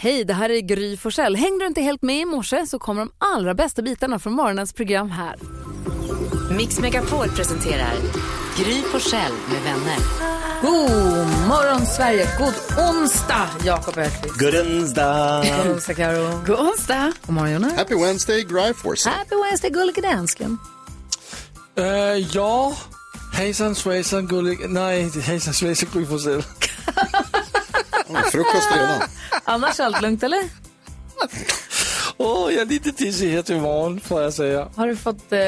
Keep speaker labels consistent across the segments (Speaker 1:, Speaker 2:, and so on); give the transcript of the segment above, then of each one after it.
Speaker 1: Hej, det här är Gry Forssell. Hängde du inte helt med i morse så kommer de allra bästa bitarna från morgonens program här.
Speaker 2: Mix Megapol presenterar Gry Forssell med vänner.
Speaker 1: God morgon Sverige, god onsdag Jakob Öqvist.
Speaker 3: Good onsdag.
Speaker 1: God onsdag Karo.
Speaker 4: God onsdag.
Speaker 1: God morgon Jonas.
Speaker 5: Happy Wednesday, Gry Forssell.
Speaker 1: Happy Wednesday gullige dansken.
Speaker 6: Uh, ja, hejsan svejsan gullig... Nej, hejsan svejsan Gry Forssell.
Speaker 5: Frukost redan.
Speaker 1: Annars allt lugnt eller?
Speaker 6: Åh, jag är lite dizzy här till morgon får jag säga.
Speaker 1: Har du fått eh,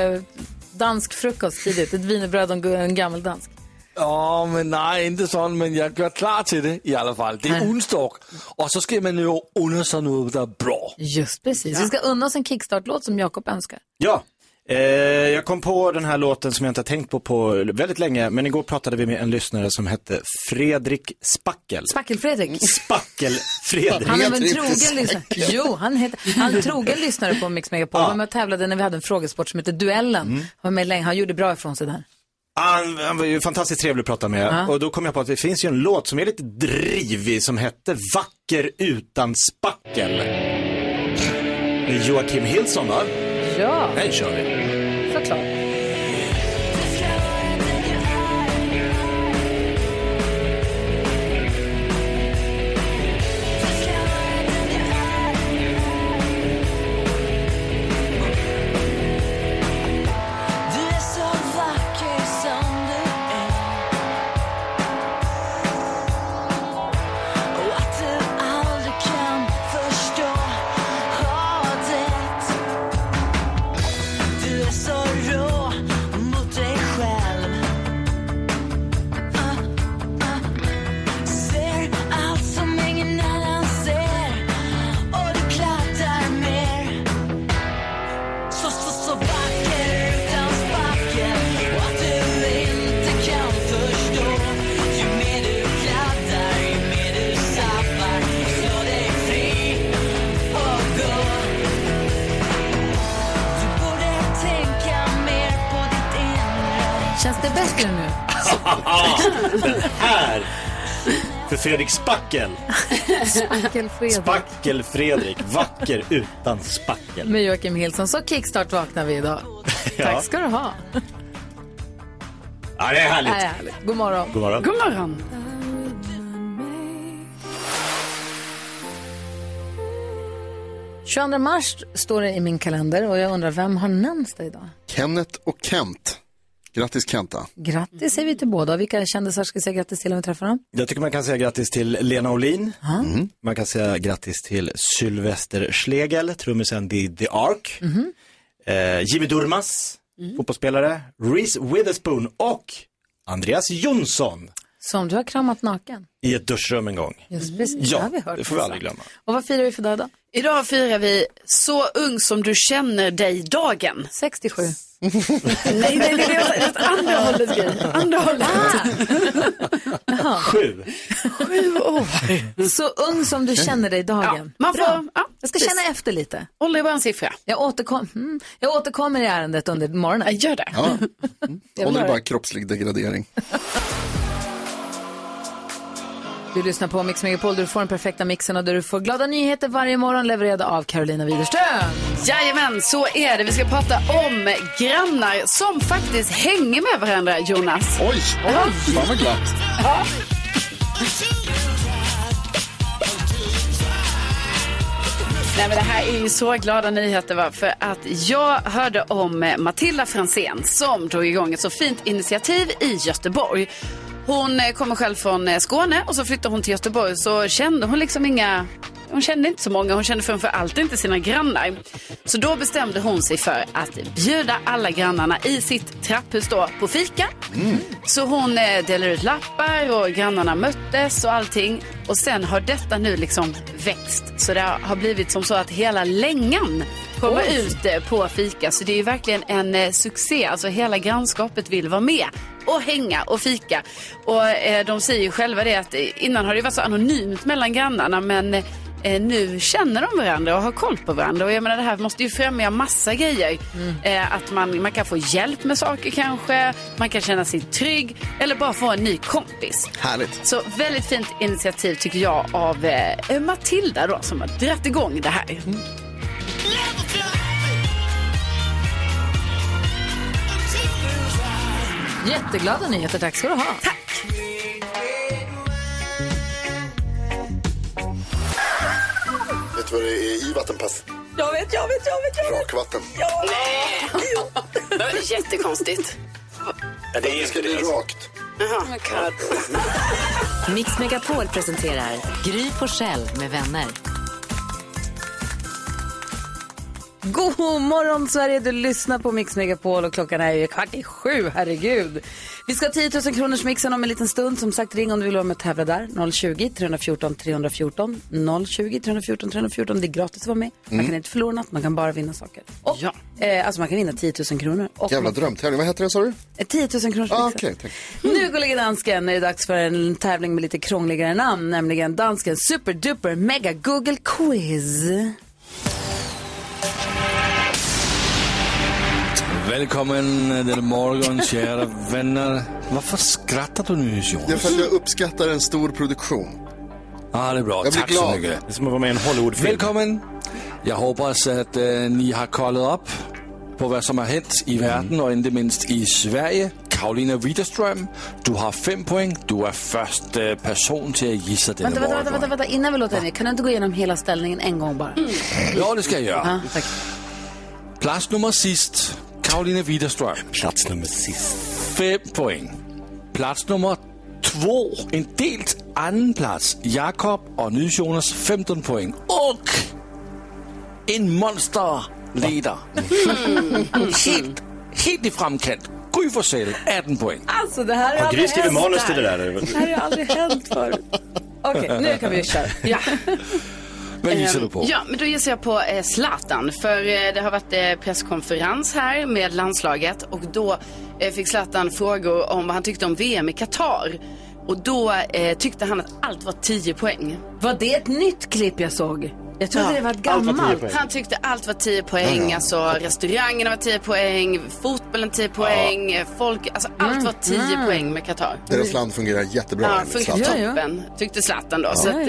Speaker 1: dansk frukost tidigt? Ett wienerbröd och en gu- en gammeldansk?
Speaker 6: Ja, men nej, inte sån, men jag gör klar till det i alla fall. Det är onsdag och så ska man ju unna sig något där bra.
Speaker 1: Just precis. Vi ska unna oss en kickstart-låt som Jakob önskar.
Speaker 3: Ja, eh, jag kom på den här låten som jag inte har tänkt på på väldigt länge, men igår pratade vi med en lyssnare som hette Fredrik Spackel.
Speaker 1: Spackel-Fredrik.
Speaker 3: Spackel-Fredrik.
Speaker 1: Han är väl en
Speaker 5: Helt
Speaker 1: trogen
Speaker 5: riktigt
Speaker 1: lyssnare. Jo, han, heter, han är en trogen lyssnare på Mix Megapol. Han var med och tävlade när vi hade en frågesport som hette Duellen.
Speaker 3: Mm.
Speaker 1: Han var med länge. Han gjorde bra ifrån sig där.
Speaker 3: Han, han var ju fantastiskt trevlig att prata med och då kom jag på att det finns ju en låt som är lite drivig som hette Vacker utan spackel. Det är Joakim Hillson va?
Speaker 1: Ja,
Speaker 3: Den kör vi.
Speaker 1: såklart.
Speaker 2: Ah,
Speaker 1: Känns det bättre nu?
Speaker 3: Här! För Fredrik Spackel.
Speaker 1: Spackel-Fredrik
Speaker 3: Spackel-Fredrik. Vacker utan spackel.
Speaker 1: med Joakim Hillson. Så kickstart vaknar vi idag.
Speaker 3: Ja.
Speaker 1: Tack ska du ha.
Speaker 3: ja, det är
Speaker 1: Ja,
Speaker 3: härligt.
Speaker 1: ja. God morgon.
Speaker 3: God morgon.
Speaker 4: God morgon.
Speaker 1: God- 22 mars står det i min kalender och jag undrar vem har namnsdag idag?
Speaker 5: Kenneth och Kent. Grattis Kenta.
Speaker 1: Grattis säger vi till båda. Vilka kändisar ska vi säga grattis till om vi träffar dem?
Speaker 3: Jag tycker man kan säga grattis till Lena Olin. Mhm. Man kan säga grattis till Sylvester Schlegel, trummisen i The Ark.
Speaker 1: Mhm.
Speaker 3: Eh, Jimmy Durmaz,
Speaker 1: Mm.
Speaker 3: fotbollsspelare. Reese Witherspoon och Andreas Jonsson
Speaker 1: Som du har kramat naken.
Speaker 3: i ett duschrum en gång.
Speaker 1: Just precis, det
Speaker 3: Mm. Ja,
Speaker 1: har vi hört.
Speaker 3: det får vi aldrig glömma.
Speaker 1: Och vad firar vi för dag idag?
Speaker 4: Idag firar vi Så ung som du känner dig-dagen.
Speaker 1: 67.
Speaker 4: Nej, nej, nej, det är åt andra hållet. Gry. Andra hållet.
Speaker 3: Sju.
Speaker 4: Sju år.
Speaker 1: Så ung som du känner dig
Speaker 4: Ja,
Speaker 1: dagen.
Speaker 4: man får,
Speaker 1: Bra.
Speaker 4: ja,
Speaker 1: Jag ska
Speaker 4: precis.
Speaker 1: känna efter lite.
Speaker 4: Håll i bara en siffra.
Speaker 1: Jag, återkom, mm, jag återkommer i ärendet under
Speaker 4: Ja,
Speaker 1: morgonen.
Speaker 4: Gör det.
Speaker 5: Ja. Mm. Håller
Speaker 1: var-
Speaker 5: i bara kroppslig degradering.
Speaker 1: Du lyssnar på Mix Megapol där du får den perfekta mixen och där du får glada nyheter varje morgon levererade av Carolina Widerström.
Speaker 4: Jajamän, så är det. Vi ska prata om grannar som faktiskt hänger med varandra, Jonas.
Speaker 5: Oj, fan vad glatt.
Speaker 4: Nej, men det här är ju så glada nyheter va? för att jag hörde om eh, Matilda Fransén som drog igång ett så fint initiativ i Göteborg. Hon eh, kommer själv från eh, Skåne och så flyttade hon till Göteborg så kände hon liksom inga hon kände inte så många, hon kände framför allt inte sina grannar. Så då bestämde hon sig för att bjuda alla grannarna i sitt trapphus då på fika. Så hon eh, delade ut lappar och grannarna möttes och allting. Och sen har detta nu liksom växt. Så det har blivit som så att hela längan kommer ut eh, på fika. Så det är ju verkligen en eh, succé. Alltså hela grannskapet vill vara med och hänga och fika. Och eh, de säger ju själva det att eh, innan har det ju varit så anonymt mellan grannarna men eh, eh, nu känner de varandra och har koll på varandra. Och jag menar, det här måste ju främja massa grejer. Eh, att man, man kan få hjälp med saker kanske, man kan känna sig trygg eller bara få en ny kompis.
Speaker 5: Härligt.
Speaker 4: Så väldigt fint initiativ tycker jag av eh, Matilda då som har dragit igång det här.
Speaker 1: Jätteglada nyheter, tack ska du ha.
Speaker 5: Vet du vad det är i vattenpass?
Speaker 7: Jag vet, jag vet, jag vet, jag vet.
Speaker 5: Rakvatten.
Speaker 4: Det var jättekonstigt.
Speaker 8: Men det är inte det.
Speaker 5: rakt.
Speaker 2: Mix Megapol presenterar Gry Forssell med vänner.
Speaker 1: God morgon Sverige, du lyssnar på Mix Megapol och klockan är ju kvart i sju, herregud. Vi ska ha 10 000 kronors mixen om en liten stund. Som sagt, ring om du vill vara med och tävla där. 020-314 314. 020 314 314. Det är gratis att vara med. Man kan inte förlora något, man kan bara vinna saker. Och, eh, alltså man kan vinna 10 000 kronor. Och
Speaker 5: Jävla drömtävling. Vad heter den sa du?
Speaker 1: Eh, 10 000 kronors
Speaker 5: Ah,
Speaker 1: mixen.
Speaker 5: Okej, tack.
Speaker 1: Nu gullige dansken är det dags för en tävling med lite krångligare namn, nämligen dansken Super Duper Mega Google Quiz.
Speaker 6: Välkommen eh, den morgon, kära vänner. Varför skrattar du nu,
Speaker 5: Det är
Speaker 6: Jonas?
Speaker 5: för att jag uppskattar en stor produktion.
Speaker 6: Ja, det är bra.
Speaker 5: Jag blir
Speaker 6: Tack så
Speaker 5: glad.
Speaker 6: mycket.
Speaker 3: Det är som att vara med i en Hollywoodfilm.
Speaker 6: Välkommen. Jag hoppas att eh, ni har kollat upp på vad som har hänt i
Speaker 3: Mm.
Speaker 6: världen och inte minst i Sverige. Karolina Widerström, du har fem poäng. Du är första person till att gissa denna
Speaker 1: Vänta, vänta, vänta, vänta,
Speaker 6: morgon.
Speaker 1: vänta, innan vi låter henne. Kan du inte gå igenom hela ställningen en gång bara?
Speaker 6: Ja, det ska jag göra.
Speaker 1: Ja, tack.
Speaker 6: Plats nummer sist, Karolina Widerström.
Speaker 3: Plats nummer sist.
Speaker 6: Fem poäng. Plats nummer två, en delt anden plats. Jakob och nu Jonas 15 poäng. Och en monsterleder. helt, helt i framkant. Gry Forssell, 18 poäng.
Speaker 1: Alltså det här
Speaker 3: Har Gry skrivit
Speaker 1: hänt
Speaker 3: manus till det
Speaker 1: här.
Speaker 3: där?
Speaker 1: Det här har aldrig hänt förut. Okej, nu kan vi köra.
Speaker 4: Ja.
Speaker 1: Ehm,
Speaker 6: Vad gissar du på?
Speaker 4: Ehm, Ja, men då gissar jag på eh, Zlatan. För eh, det har varit eh, presskonferens här med landslaget och då eh, fick Zlatan frågor om vad han tyckte om VM i Qatar. Och då eh, tyckte han att allt var 10 poäng.
Speaker 1: Var det ett nytt klipp jag såg? Jag trodde
Speaker 4: Ja,
Speaker 1: det var ett gammalt.
Speaker 4: Han tyckte allt var 10 poäng. Alltså restaurangerna var 10 poäng, fotbollen 10 poäng, eh, folk, alltså allt var 10
Speaker 1: Mm,
Speaker 4: poäng med Qatar.
Speaker 5: Deras land fungerar jättebra
Speaker 4: Ja,
Speaker 5: enligt
Speaker 4: funkar
Speaker 5: Zlatan.
Speaker 1: Ja, ja.
Speaker 4: toppen, tyckte Zlatan då. Så att,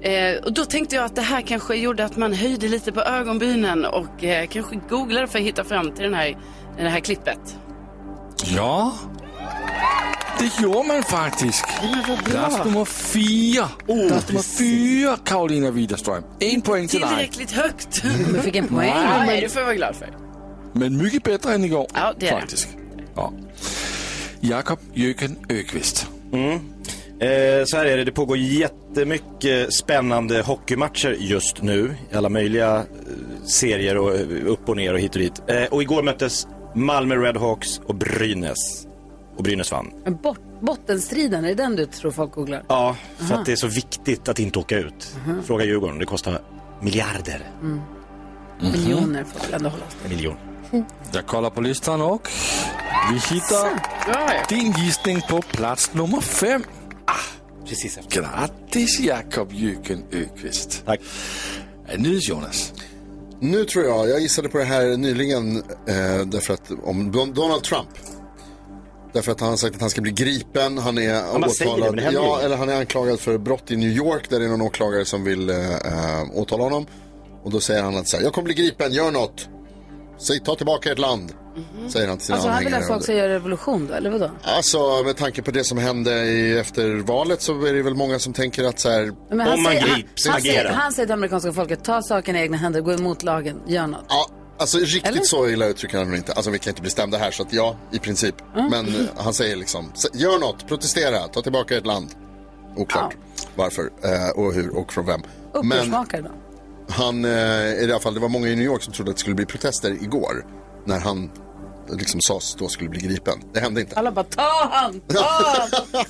Speaker 4: eh, eh, och då tänkte jag att det här kanske gjorde att man höjde lite på ögonbrynen och eh, kanske googlade för att hitta fram till den här, det här klippet.
Speaker 6: Ja. Det gjorde man faktiskt. Plats nummer fyra. Plats nummer fyra, Karolina Widerström. En poäng till dig.
Speaker 4: Tillräckligt högt.
Speaker 1: Du fick en poäng.
Speaker 4: Ja, Nej, det får jag vara glad för.
Speaker 6: Men mycket bättre än igår.
Speaker 4: Ja, det är det.
Speaker 6: Faktiskt. Ja. Jakob Jöken Ökvist.
Speaker 3: Mm. Eh, så här är det, det pågår jättemycket spännande hockeymatcher just nu. I alla möjliga eh, serier och eh, upp och ner och hit och dit. Eh, och igår möttes Malmö Redhawks och Brynäs. Och Brynäs vann.
Speaker 1: Men Bort, bottenstriden, är det den du tror folk googlar?
Speaker 3: Ja, för att det är så viktigt att inte åka ut. Fråga Djurgården, det kostar miljarder.
Speaker 1: Mm.
Speaker 5: Mhm.
Speaker 1: Miljoner får väl ändå hålla oss till.
Speaker 3: Miljon.
Speaker 6: Jag kollar på listan och vi hittar din gissning på plats nummer fem.
Speaker 4: Ah,
Speaker 3: Precis efter.
Speaker 6: Grattis Jakob Jöken Ökvist.
Speaker 3: Tack.
Speaker 6: Nu Jonas.
Speaker 5: Nu tror jag, jag gissade på det här nyligen eh, därför att om Don- Donald Trump. Därför att han har sagt att han ska bli gripen, han är
Speaker 3: man säger det,
Speaker 5: åtalad.
Speaker 3: men det händer ju
Speaker 5: ja,
Speaker 3: inget.
Speaker 5: eller han är anklagad för brott i New York där det är någon åklagare som vill eh, eh, åtala honom. Och då säger han att så här, jag kommer bli gripen, gör något. Säg, ta tillbaka ert land. Säger han till sina
Speaker 1: Alltså han vill
Speaker 5: anhängare.
Speaker 1: att folk ska göra revolution då, eller vadå?
Speaker 5: Alltså med tanke på det som hände i, efter valet så är det väl många som tänker att så här,
Speaker 1: Men
Speaker 3: Om man
Speaker 1: säger,
Speaker 3: grips,
Speaker 1: han, han, säger,
Speaker 3: agera.
Speaker 1: han säger till amerikanska folket, ta saken i egna händer, gå emot lagen, gör något.
Speaker 5: Ja, alltså riktigt
Speaker 1: Eller?
Speaker 5: så illa uttrycker han inte. Alltså vi kan inte bli stämda här så att ja, i princip. Men eh, han säger liksom, "S- gör något, protestera, ta tillbaka ert land. Oklart varför eh, och hur och från vem. Men
Speaker 1: Upprorsmakare då.
Speaker 5: han, eh, i alla fall, det var många i New York som trodde att det skulle bli protester igår. När han eh, liksom sades då skulle bli gripen. Det hände inte.
Speaker 1: Alla bara, ta han, ta han!
Speaker 5: Eh,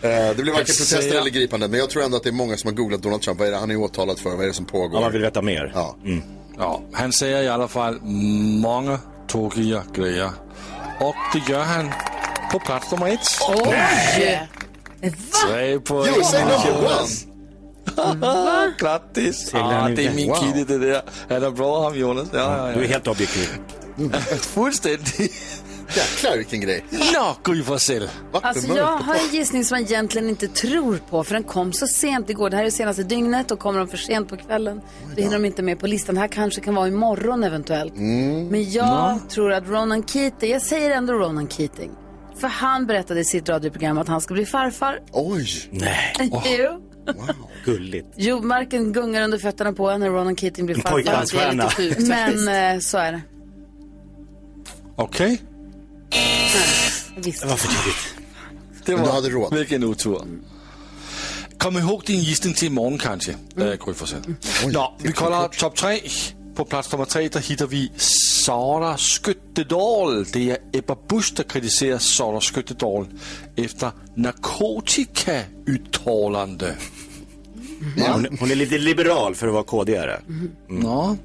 Speaker 5: det blev varken
Speaker 6: Jag
Speaker 5: protester
Speaker 6: säger-
Speaker 5: eller gripanden. Men jag tror ändå att det är många som har googlat Donald Trump. Vad är det han är åtalad för? Vad är det som
Speaker 3: Om man
Speaker 5: pågår?
Speaker 3: vill veta mer. Mm.
Speaker 5: Ja.
Speaker 6: Ja, han säger i alla fall många tokiga grejer. Och det gör han på plats nummer ett.
Speaker 4: Yeah.
Speaker 6: Tre poäng.
Speaker 5: USA number one!
Speaker 6: Grattis!
Speaker 3: Seglar han
Speaker 6: Ah,
Speaker 3: ut
Speaker 6: det är
Speaker 3: det?
Speaker 6: min
Speaker 5: Wow.
Speaker 6: kille det där. Han är bra ham Jonas. Ja, ja,
Speaker 3: Du är
Speaker 6: ja.
Speaker 3: helt objektiv.
Speaker 6: Fullständigt.
Speaker 5: Jäklar vilken grej.
Speaker 6: Nå, Gry Forssell.
Speaker 5: Va?
Speaker 1: Alltså
Speaker 5: Hur mörkt
Speaker 1: jag
Speaker 5: det
Speaker 1: har
Speaker 5: var.
Speaker 1: en gissning som jag egentligen inte tror på för den kom så sent igår. Det här är senaste dygnet och kommer de för sent på kvällen. Då hinner de inte med på listan. Det här kanske kan vara imorgon eventuellt.
Speaker 3: Mm.
Speaker 1: Men jag tror att Ronan Keating, jag säger ändå Ronan Keating. För han berättade i sitt radioprogram att han ska bli farfar.
Speaker 5: Oj,
Speaker 3: Nej,
Speaker 1: Jo.
Speaker 3: gulligt.
Speaker 1: Jordmarken gungar under fötterna på en när Ronan Keating blir farfar.
Speaker 4: det är
Speaker 3: Pojkbandsstjärna.
Speaker 4: lite sjukt faktiskt.
Speaker 1: Men eh, så är det.
Speaker 6: Okej.
Speaker 1: Visst.
Speaker 3: Det var för tidigt.
Speaker 6: Det
Speaker 5: Men du hade råd.
Speaker 6: Vilken otur. Kom ihåg din gissning till imorgon kanske, mm.
Speaker 3: Eh,
Speaker 6: Gry Forssell. Nå, vi kollar topp tre. På plats nummer tre där hittar vi Sara Skyttedal. Det är Ebba Busch som kritiserar Sara Skyttedal efter narkotikauttalande.
Speaker 3: Hon, hon är lite liberal för att vara KD-are.
Speaker 6: Mm-hmm. Nå.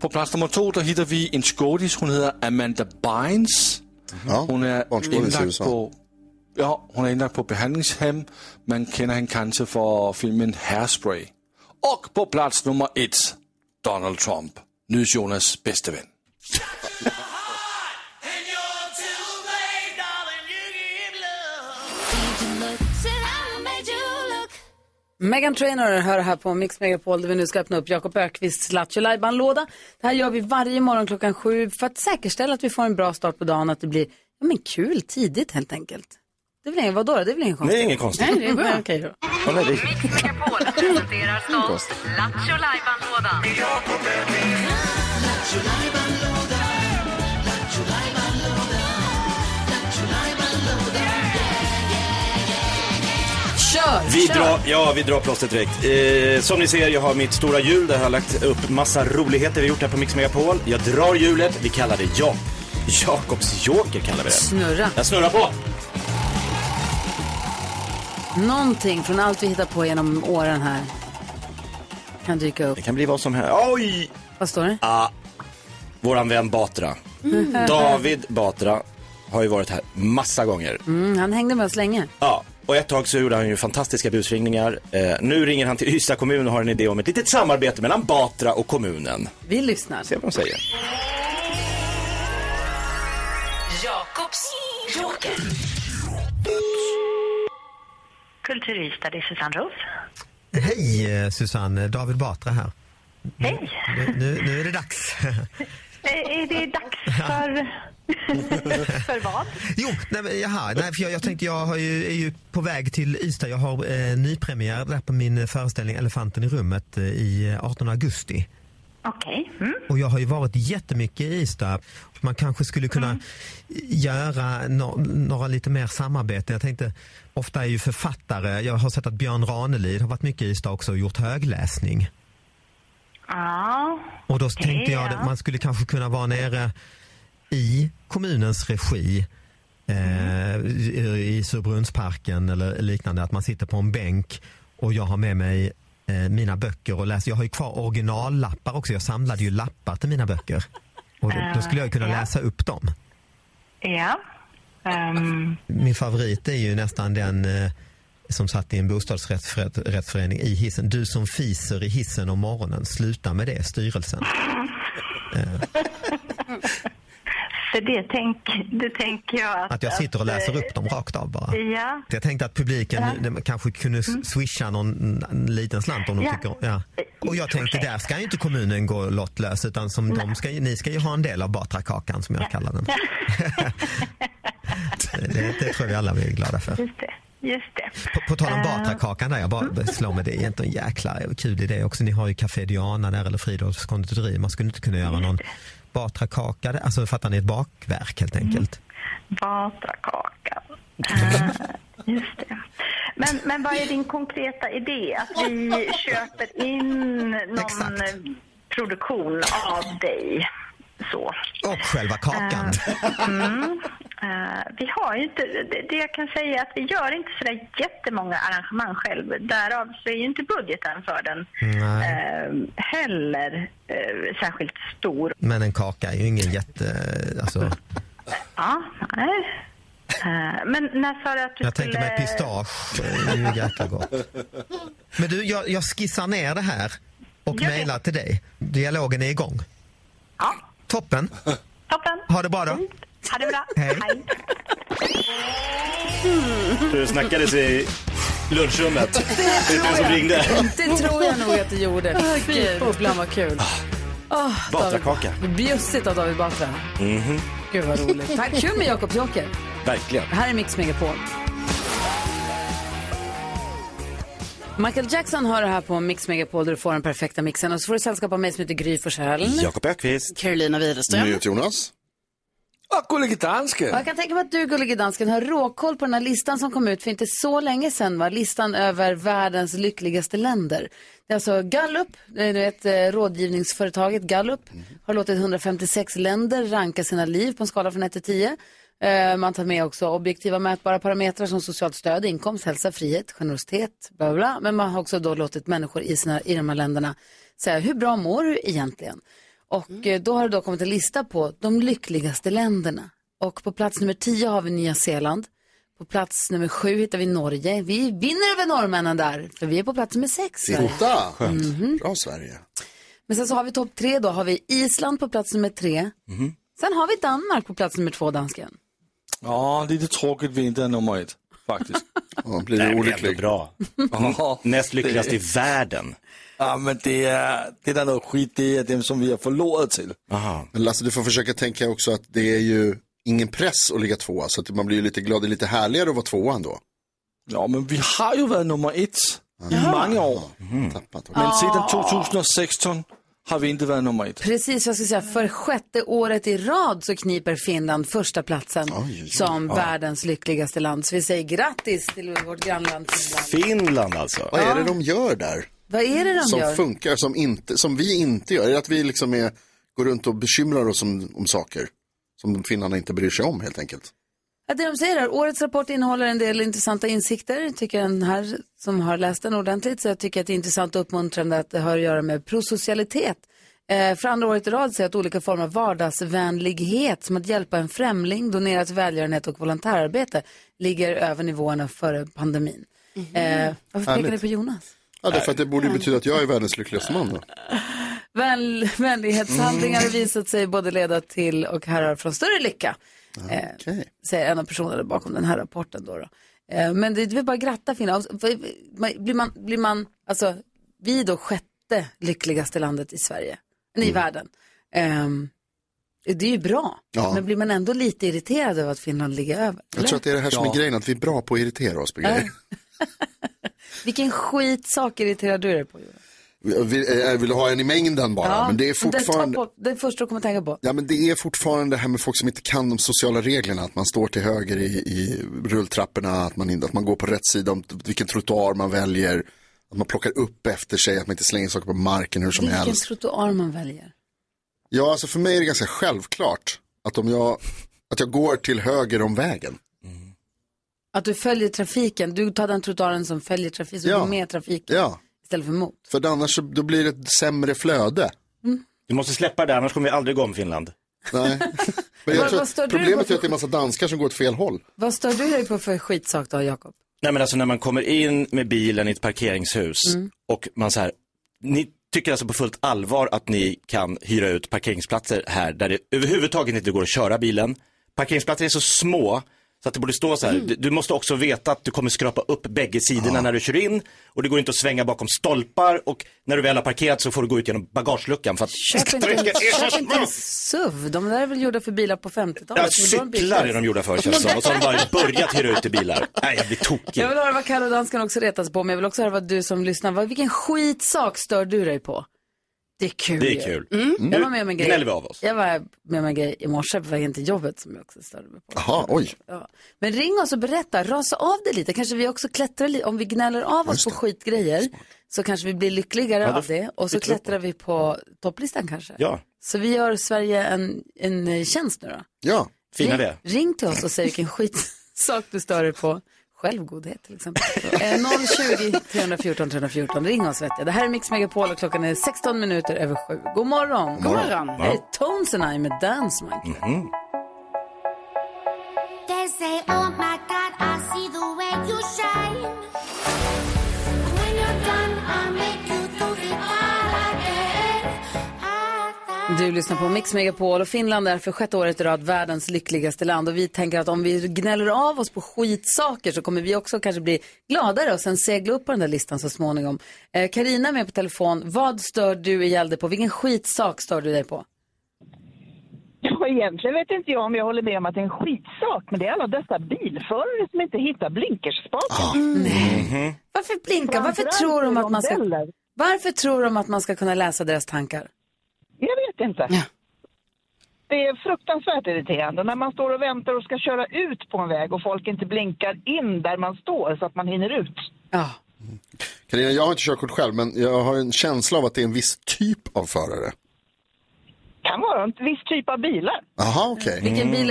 Speaker 6: På plats nummer två där hittar vi en skådis. Hon heter Amanda Bynes.
Speaker 5: ja.
Speaker 6: Hon är
Speaker 5: Barnskådis i
Speaker 6: indlagt
Speaker 5: USA.
Speaker 6: på ja, hon är indlagt på behandlingshem. Man känner henne kanske för filmen Hairspray. Och på plats nummer ett, Donald Trump, NyhetsJonas bästa vän.
Speaker 1: Megan Trainor hör här på Mix Megapol där vi nu ska öppna upp Jakob Ökvists Lattjo låda Det här gör vi varje morgon klockan sju för att säkerställa att vi får en bra start på dagen och att det blir ja, men kul tidigt helt enkelt. Det är väl ingen, vadå då? Det är väl
Speaker 3: Det
Speaker 1: ingen konstigt?
Speaker 3: är inget konstigt.
Speaker 4: Nej, det är bra.
Speaker 1: Okej då.
Speaker 3: Hon är det.
Speaker 1: Kör!
Speaker 3: Vi
Speaker 1: kör.
Speaker 3: drar, ja, vi drar plåstret direkt. Eh, som ni ser, jag har mitt stora hjul där jag har lagt upp massa roligheter vi gjort här på Mix Megapol. Jag drar hjulet, vi kallar det ja. Jakobs joker kallar vi det.
Speaker 1: Snurra.
Speaker 3: Jag snurrar på.
Speaker 1: Någonting från allt vi hittar på genom åren här kan dyka upp.
Speaker 3: Det kan bli vad som helst. Oj! Ah,
Speaker 1: Vad står det?
Speaker 3: Våran vän Batra.
Speaker 1: Mm.
Speaker 3: David Batra har ju varit här massa gånger.
Speaker 1: Mm, han hängde med oss länge.
Speaker 3: Ja, och ett tag så gjorde han ju fantastiska busringningar. Eh, nu ringer han till Ystad kommun och har en idé om ett litet samarbete mellan Batra och kommunen.
Speaker 1: Vi lyssnar.
Speaker 3: Se vad de säger.
Speaker 2: Jakobs joker.
Speaker 9: Kulturista, det är Susanne Ruff.
Speaker 10: Hej eh, Susanne, David Batra här.
Speaker 9: Hej!
Speaker 10: Nu, nu, nu är det dags.
Speaker 9: Eh, Är det dags för... för vad?
Speaker 10: Jo, nej, men, jaha, nej, för jag, jag tänkte jag har ju, är ju på väg till Ystad. Jag har eh, nypremiär där på min eh, föreställning Elefanten i rummet eh, i eh, 18 augusti.
Speaker 9: Okej. Mm.
Speaker 10: Och jag har ju varit jättemycket i Ystad. Man kanske skulle kunna
Speaker 9: Mm.
Speaker 10: göra no några lite mer samarbete. Jag tänkte, ofta är ju författare, jag har sett att Björn Ranelid har varit mycket i Ystad också och gjort högläsning.
Speaker 9: Ja.
Speaker 10: Och då
Speaker 9: Okej,
Speaker 10: tänkte jag att
Speaker 9: ja.
Speaker 10: man skulle kanske kunna vara nere i kommunens regi eh,
Speaker 9: Mm.
Speaker 10: i i Surbrunnsparken eller liknande. Att man sitter på en bänk och jag har med mig eh, mina böcker och läser. Jag har ju kvar originallappar också. Jag samlade ju lappar till mina böcker. Och då, då skulle jag ju kunna läsa upp dem.
Speaker 9: Ja. Ehm,
Speaker 10: Min favorit är ju nästan den eh, som satt i en bostadsrättsförening i hissen. Du som fiser i hissen om morgonen, sluta med det, styrelsen. Eh,
Speaker 9: för det, tänk, det tänker jag att...
Speaker 10: Att jag sitter och läser upp dem rakt av bara.
Speaker 9: Ja. Mm.
Speaker 10: Jag tänkte att publiken nu- kanske kunde s- swisha någon en liten slant om de
Speaker 9: Ja.
Speaker 10: tycker... Ja. Och jag tänkte, där ska ju inte kommunen gå lottlös utan som de ska, ju- ni ska ju ha en del av Batrakakan som jag kallar den. det, det tror jag vi alla blir glada för.
Speaker 9: Just det. Mm. Just det.
Speaker 10: På, på tal om Batrakakan där, jag bara slår med det, är inte en jäkla kul idé också. Ni har ju Café Diana där eller Fridolfs konditori. Man skulle inte kunna göra någon Batrakaka, där? alltså fattar ni, ett bakverk helt enkelt.
Speaker 9: Batrakakan. Eh, just det. Men, men vad är din konkreta idé? Att vi köper in någon
Speaker 10: Exakt.
Speaker 9: produktion av dig? Så.
Speaker 10: Och själva kakan.
Speaker 9: Eh, vi har ju inte, det, det jag kan säga är att vi gör inte sådär jättemånga arrangemang själv. Därav så är ju inte budgeten för den
Speaker 10: Nej.
Speaker 9: eh, heller eh, särskilt stor.
Speaker 10: Men en kaka är ju ingen jätte... Alltså,
Speaker 9: Ja, nej. Eh, Men när sa du att du
Speaker 10: Jag
Speaker 9: skulle...
Speaker 10: tänker mig pistage. Det är ju jäkla gott. Men du, jag, jag skissar ner det här och mejlar till dig. Dialogen är igång.
Speaker 9: Ja.
Speaker 10: Toppen.
Speaker 9: Toppen. Mm.
Speaker 10: Ha det bra då.
Speaker 9: Ha det bra.
Speaker 10: Hej.
Speaker 3: Du snackades i lunchrummet. Det är du som ringde.
Speaker 1: Det tror jag nog att det gjorde.
Speaker 4: Åh,
Speaker 1: Fy
Speaker 4: gud.
Speaker 1: bubblan vad kul. Oh,
Speaker 3: Batrakaka.
Speaker 1: Bjussigt av David Batra.
Speaker 3: Mhm.
Speaker 1: Gud vad roligt. Tack. Kul med Jakob Joker.
Speaker 3: Verkligen.
Speaker 1: Det här är Mix Megapol. Michael Jackson har det här på Mix Megapol där du får den perfekta mixen. Och så får du sällskap av mig som heter Gry Forssell.
Speaker 3: Jakob Ökvist.
Speaker 4: Carolina Widerström.
Speaker 5: Jonas.
Speaker 6: Och Gullige Danske.
Speaker 1: Och jag kan tänka mig att du, gullige dansken, har råkoll på den här listan som kom ut för inte så länge sedan. Va? Listan över världens lyckligaste länder. Det är alltså Gallup, det är ett eh, rådgivningsföretaget Gallup, har låtit 156 länder ranka sina liv på en skala från 1 till 10. Eh, Man tar med också objektiva mätbara parametrar som socialt stöd, inkomst, hälsa, frihet, generositet, bla bla, bla. Men man har också då låtit människor i, sina, i de här länderna säga, hur bra mår du egentligen? Och eh, då har det då kommit en lista på de lyckligaste länderna. Och på plats nummer 10 har vi Nya Zeeland. På plats nummer 7 hittar vi Norge. Vi vinner över norrmännen där, för vi är på plats nummer 6.
Speaker 5: Titta! Skönt.
Speaker 1: Mhm.
Speaker 5: Bra Sverige.
Speaker 1: Men sen så har vi topp 3 då, har vi Island på plats nummer 3.
Speaker 6: Mhm.
Speaker 1: Sen har vi Danmark på plats nummer 2, dansken.
Speaker 6: Ja, lite tråkigt vi inte är nummer ett, faktiskt.
Speaker 5: Ja, blir
Speaker 3: Nej, men olycklig. ändå bra. Näst lyckligast i världen.
Speaker 6: Ja, men det är, det är något skit, det är dem som vi har förlorat till.
Speaker 3: Aha.
Speaker 5: Men Lasse, du får försöka tänka också att det är ju ingen press att ligga tvåa, så att man blir ju lite glad, det är lite härligare att vara tvåa ändå.
Speaker 6: Ja, men vi har ju varit nummer ett i många år.
Speaker 5: Mhm.
Speaker 6: Men sedan 2016 har vi inte varit nummer ett.
Speaker 1: Precis vad jag ska säga, för sjätte året i rad så kniper Finland första platsen som
Speaker 6: Ja.
Speaker 1: världens lyckligaste land. Så vi säger grattis till vårt grannland Finland.
Speaker 3: Finland alltså.
Speaker 5: Vad är det
Speaker 1: Ja.
Speaker 5: de gör där?
Speaker 1: Vad är det de
Speaker 5: som
Speaker 1: gör?
Speaker 5: funkar, som, inte, som vi inte gör? Är det att vi liksom är, går runt och bekymrar oss om, om saker som finnarna inte bryr sig om helt enkelt?
Speaker 1: Ja, det de säger är årets rapport innehåller en del intressanta insikter, tycker den här som har läst den ordentligt. Så jag tycker att det är intressant och uppmuntrande att det har att göra med prosocialitet. Eh, för andra året i rad säger att olika former av vardagsvänlighet, som att hjälpa en främling, donera till välgörenhet och volontärarbete, ligger över nivåerna före pandemin. Eh, varför pekar
Speaker 5: Härligt.
Speaker 1: ni på Jonas?
Speaker 5: Ja, därför att det borde ju betyda att jag är världens lyckligaste man då.
Speaker 1: Väl, vänlighetshandlingar
Speaker 5: Mm.
Speaker 1: har visat sig både leda till och härrör från större lycka. Eh, Säger en av personerna bakom den här rapporten. Då då. Eh, men det vill bara gratta Finland. Och så- man- Blir man, blir man, alltså, vi är då sjätte lyckligaste landet i Sverige, nej, i
Speaker 5: Mm.
Speaker 1: världen. Ehm, det är ju bra,
Speaker 5: Ja.
Speaker 1: men blir man ändå lite irriterad över att Finland ligger över?
Speaker 5: Jag tror att det är det här som är grejen, att vi är bra på att irritera oss på grejer.
Speaker 1: Vilken skitsak irriterar du dig på? Jonas?
Speaker 5: Vi, jag vill ha en i mängden bara, men det är
Speaker 1: Den,
Speaker 5: fortfarande...
Speaker 1: tar bort- den första du kommer tänka på.
Speaker 5: Ja, men det är fortfarande det här med folk som inte kan de sociala reglerna, att man står till höger i, i rulltrapporna, att man, inte- att man går på rätt sida, om vilken trottoar man väljer, att man plockar upp efter sig, att man inte slänger saker på marken hur som
Speaker 1: Vilken
Speaker 5: helst.
Speaker 1: trottoar man väljer.
Speaker 5: Ja, alltså för mig är det ganska självklart att om jag, att jag går till höger om vägen.
Speaker 1: Att du följer trafiken, du tar den trottoaren som följer trafiken, så
Speaker 5: Ja.
Speaker 1: du är med i trafiken
Speaker 5: Ja,
Speaker 1: istället för mot.
Speaker 5: för annars så, då blir det ett sämre flöde.
Speaker 1: Mm.
Speaker 3: Du måste släppa det, annars kommer vi aldrig gå om Finland.
Speaker 5: Nej. Men
Speaker 1: Vad-
Speaker 5: jag tror
Speaker 1: vad stör
Speaker 5: att
Speaker 1: du dig på
Speaker 5: problemet
Speaker 1: för
Speaker 5: är att det är en massa danskar som går åt fel håll.
Speaker 1: Vad stör du dig på för skitsak då, Jakob?
Speaker 3: Nej men alltså när man kommer in med bilen i ett parkeringshus
Speaker 1: Mm.
Speaker 3: och man så här, ni tycker alltså på fullt allvar att ni kan hyra ut parkeringsplatser här där det överhuvudtaget inte går att köra bilen. Parkeringsplatser är så små så att det borde stå så
Speaker 1: Mm.
Speaker 3: här, du- du måste också veta att du kommer skrapa upp bägge sidorna
Speaker 1: Ah.
Speaker 3: när du kör in och det går inte att svänga bakom stolpar och när du väl har parkerat så får du gå ut genom bagageluckan för att
Speaker 1: Köp inte, en, köp inte en SUV, de där är väl gjorda för bilar på 50-talet.
Speaker 3: Ja,
Speaker 1: men då en bil-
Speaker 3: cyklar är de gjorda för känns det som. Och så har de bara börjat hyra ut till bilar. Nej, jag blir tokig.
Speaker 1: Jag vill höra vad Kalle och dansken också retas på, men jag vill också höra vad du som lyssnar, vad, vilken skitsak stör du dig på? Det är kul.
Speaker 3: Det
Speaker 1: ju. Mm.
Speaker 3: är kul.
Speaker 1: Jag var med om en
Speaker 3: Nu
Speaker 1: grej.
Speaker 3: gnäller vi av oss.
Speaker 1: Jag var med om en grej i morse på vägen till jobbet som jag också störde mig på.
Speaker 5: Jaha, oj.
Speaker 1: Ja. Men ring oss och berätta, rasa av det lite. Kanske vi också klättrar lite, om vi gnäller av oss på skitgrejer så kanske vi blir lyckligare
Speaker 3: Ja, då
Speaker 1: av det och så
Speaker 3: flyttar vi upp
Speaker 1: klättrar vi på topplistan kanske.
Speaker 3: Ja,
Speaker 1: Så vi gör Sverige en, en eh, tjänst nu då.
Speaker 5: Ja,
Speaker 3: fina vi
Speaker 10: Mm.
Speaker 1: ring,
Speaker 3: är.
Speaker 1: ring till oss och säg vilken skitsak du stör dig på. Självgodhet till exempel. Eh, 020 314 314, ring oss vet jag. Det här är Mix Megapol och klockan är 16 minuter över sju. God morgon!
Speaker 4: God morgon.
Speaker 1: Det är Tones and I med Dance Monkey.
Speaker 3: Mhm.
Speaker 11: They say, oh
Speaker 1: Du lyssnar på Mix Megapol och Finland är för sjätte året i rad världens lyckligaste land och vi tänker att om vi gnäller av oss på skitsaker så kommer vi också kanske bli gladare och sen segla upp på den där listan så småningom. Eh, Carina är med på telefon. Vad stör du ihjäl dig på? Vilken skitsak stör du dig på?
Speaker 11: Ja, egentligen vet inte jag om jag håller med om att det är en skitsak, men det är alla dessa bilförare som inte hittar blinkerspaken.
Speaker 1: Varför blinka? Mm. Varför
Speaker 11: Framförallt
Speaker 1: tror, de
Speaker 11: i
Speaker 1: att man ska,
Speaker 11: rondeller.
Speaker 1: varför tror de att man ska kunna läsa deras tankar?
Speaker 11: Jag vet inte. Det är fruktansvärt irriterande när man står och väntar och ska köra ut på en väg och folk inte blinkar in där man står så att man hinner ut.
Speaker 5: Carina, jag har inte körkort själv, men jag har en känsla av att det är en viss typ av förare.
Speaker 11: kan vara en viss typ av bilar.
Speaker 5: Jaha, okej.
Speaker 11: Ja, men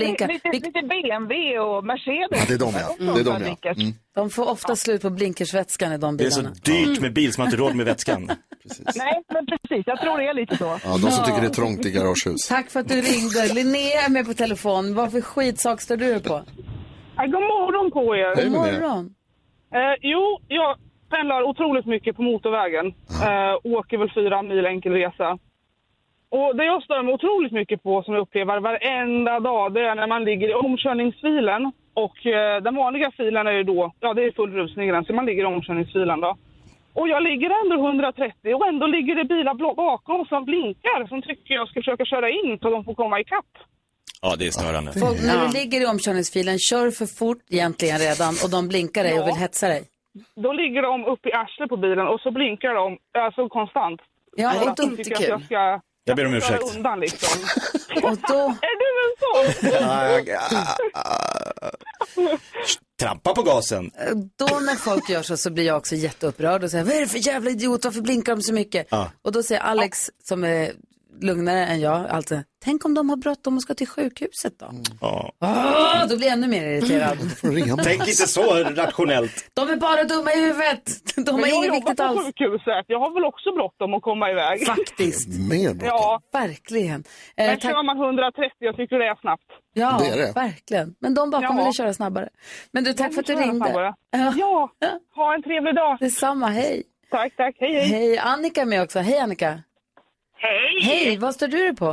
Speaker 11: Lite, lite BMW och Mercedes.
Speaker 5: Ja, det är de, ja. Det är de, ja. Mm.
Speaker 1: De får ofta slut på blinkersvätskan i de
Speaker 3: Det är så
Speaker 1: bilarna.
Speaker 3: dyrt med bil som man inte har råd med vätskan.
Speaker 11: Nej, men precis. Jag tror det är lite så.
Speaker 5: Ja, de som tycker det är trångt i garagehus.
Speaker 1: Tack för att du ringde. Linnea är med på telefon. Vad för skitsak står du på?
Speaker 12: Ja, god morgon på er!
Speaker 1: God morgon.
Speaker 12: Eh, jo, jag pendlar otroligt mycket på motorvägen.
Speaker 6: Ah.
Speaker 12: Eh, åker väl fyra mil enkel resa. Och det jag stör mig otroligt mycket på, som jag upplever varenda dag, det är när man ligger i omkörningsfilen. Och eh, den vanliga filen är ju då, ja det är full rusning i den, så man ligger i omkörningsfilen då. Och jag ligger ändå 130 och ändå ligger det bilar bla- bakom som blinkar, som tycker jag ska försöka köra in så de får komma ikapp.
Speaker 3: Ja, det är störande.
Speaker 1: Folk, när du ligger i omkörningsfilen, kör för fort egentligen redan och de blinkar dig och vill hetsa dig.
Speaker 12: Då ligger de upp i arslet på bilen och så blinkar de alltså konstant.
Speaker 1: Ja,
Speaker 12: Så
Speaker 1: det är
Speaker 12: att de
Speaker 1: inte
Speaker 12: tycker att
Speaker 1: kul.
Speaker 12: Jag ska
Speaker 3: Jag ber om
Speaker 12: köra
Speaker 3: ursäkt.
Speaker 12: undan liksom.
Speaker 1: Och då...
Speaker 12: är du en sån?
Speaker 3: Ja, jag- ah, ah. Trampa på gasen.
Speaker 1: Då när folk gör så, så blir jag också jätteupprörd och säger, vad är det för jävla idiot, varför blinkar de så mycket?
Speaker 3: Ja.
Speaker 1: Och då säger Alex, som är lugnare än jag, alltid, tänk om de har bråttom och ska till sjukhuset
Speaker 11: Mm.
Speaker 1: då?
Speaker 3: Ja.
Speaker 1: Ah, då blir jag ännu mer irriterad.
Speaker 3: Tänk inte så rationellt.
Speaker 1: De är bara dumma i huvudet. De har
Speaker 12: Men jag
Speaker 1: inget
Speaker 12: jobbar
Speaker 1: viktigt
Speaker 12: på
Speaker 1: alls.
Speaker 12: sjukhuset. Jag har väl också bråttom att komma iväg.
Speaker 1: Faktiskt.
Speaker 5: Mer bråttom.
Speaker 12: Ja.
Speaker 1: Verkligen. Eh,
Speaker 12: Men
Speaker 1: tack-
Speaker 12: kör man 130, jag tycker det är snabbt.
Speaker 1: Ja, verkligen. Men de bakom
Speaker 12: Ja.
Speaker 1: ville köra snabbare. Men du, tack
Speaker 12: De
Speaker 1: för att du
Speaker 12: vill köra
Speaker 1: ringde.
Speaker 12: snabbare.
Speaker 1: Ja,
Speaker 12: ha en trevlig dag.
Speaker 1: Detsamma, hej.
Speaker 12: Tack, tack. Hej, hej.
Speaker 1: Hej, Annika är med också. Hej, Annika.
Speaker 7: Hej!
Speaker 1: Hej, vad står du dig på?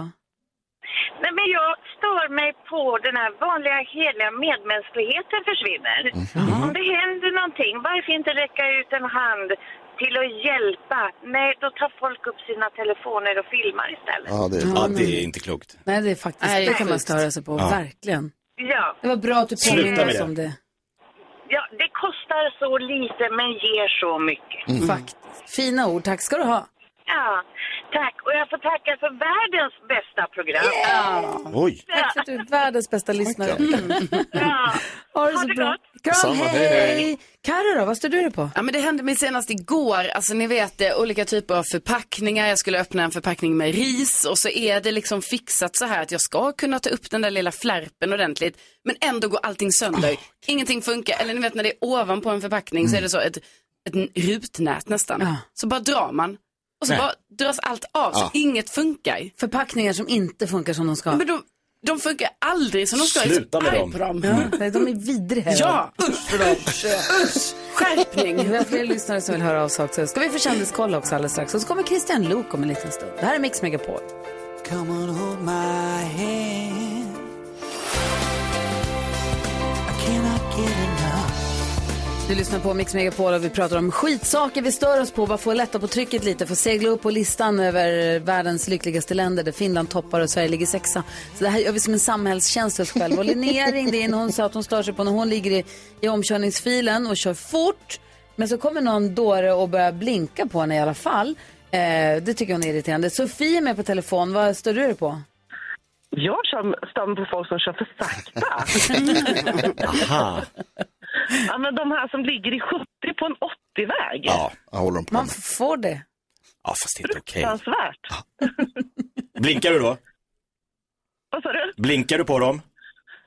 Speaker 7: Nej, men jag stör mig på den här vanliga heliga medmänskligheten försvinner.
Speaker 3: Mhm.
Speaker 7: Om det händer någonting, varför inte räcka ut en hand till att hjälpa? Nej, då tar folk upp sina telefoner och filmar istället.
Speaker 3: Ja, det är, inte klokt.
Speaker 1: Nej, det är faktiskt,
Speaker 7: Nej, det
Speaker 1: det,
Speaker 7: är
Speaker 1: kan man
Speaker 7: sjukt.
Speaker 1: störa sig på,
Speaker 3: Ja.
Speaker 1: verkligen.
Speaker 7: Ja.
Speaker 1: Det var bra att du
Speaker 7: Sluta med
Speaker 1: påminner oss
Speaker 7: det.
Speaker 1: om det.
Speaker 7: Ja, det kostar så lite men ger så mycket.
Speaker 1: Faktiskt. Fina ord, tack ska du ha.
Speaker 7: Ja, tack. Och jag får tacka för världens bästa program.
Speaker 3: Oj.
Speaker 1: Tack för att du är världens bästa lyssnare.
Speaker 4: Ha
Speaker 1: det så bra.
Speaker 4: Kram,
Speaker 1: Detsamma, hej, hej. hej. Carro då, vad står du dig på?
Speaker 4: Ja, men det hände mig senast igår. Alltså ni vet eh, olika typer av förpackningar. Jag skulle öppna en förpackning med ris och så är det liksom fixat så här att jag ska kunna ta upp den där lilla flärpen ordentligt. Men ändå går allting sönder.
Speaker 1: Ah.
Speaker 4: Ingenting funkar. Eller ni vet när det är ovanpå en förpackning så är det så ett, ett rutnät nästan.
Speaker 1: Ah.
Speaker 4: Så bara drar man och så
Speaker 1: Nej. Ah.
Speaker 4: bara dras allt av. Så
Speaker 1: Ja.
Speaker 4: inget funkar.
Speaker 1: Förpackningar som inte funkar som de ska.
Speaker 4: Men de, de funkar aldrig som de ska. Jag är så
Speaker 1: Sluta med
Speaker 4: arg
Speaker 1: dem.
Speaker 4: På dem.
Speaker 3: Mm.
Speaker 1: Ja, nej, de är vidriga.
Speaker 4: Ja, usch för dem. Usch. Skärpning.
Speaker 1: Vi har fler lyssnare som vill höra av sig också. Ska vi få kändiskoll också alldeles strax. Och så kommer Christian Lok om en liten stund. Det här är Mix Megapol.
Speaker 13: Come and hold my hand. I cannot get enough.
Speaker 1: Du lyssnar på Mix Megapol och vi pratar om skitsaker vi stör oss på. Bara få lätta på trycket lite, få segla upp på listan över världens lyckligaste länder där Finland toppar och Sverige ligger sexa. Så det här gör vi som en samhällstjänst för oss själva. Och Linnea ringde in och hon sa att hon stör sig på när hon ligger i, i omkörningsfilen och kör fort. Men så kommer någon dåre och börjar blinka på henne i alla fall. Eh, det tycker hon är irriterande. Sofie är med på telefon. Vad stör du dig på?
Speaker 14: Jag kör- stör mig på folk som kör för sakta.
Speaker 3: Aha.
Speaker 14: ja, men de här som ligger i 70 på en 80-väg.
Speaker 3: Ja, jag håller dem på.
Speaker 1: Man får det.
Speaker 3: Ja, fast det är inte okej.
Speaker 14: Fruktansvärt.
Speaker 3: Blinkar du då?
Speaker 14: Vad sa du?
Speaker 3: Blinkar du på dem?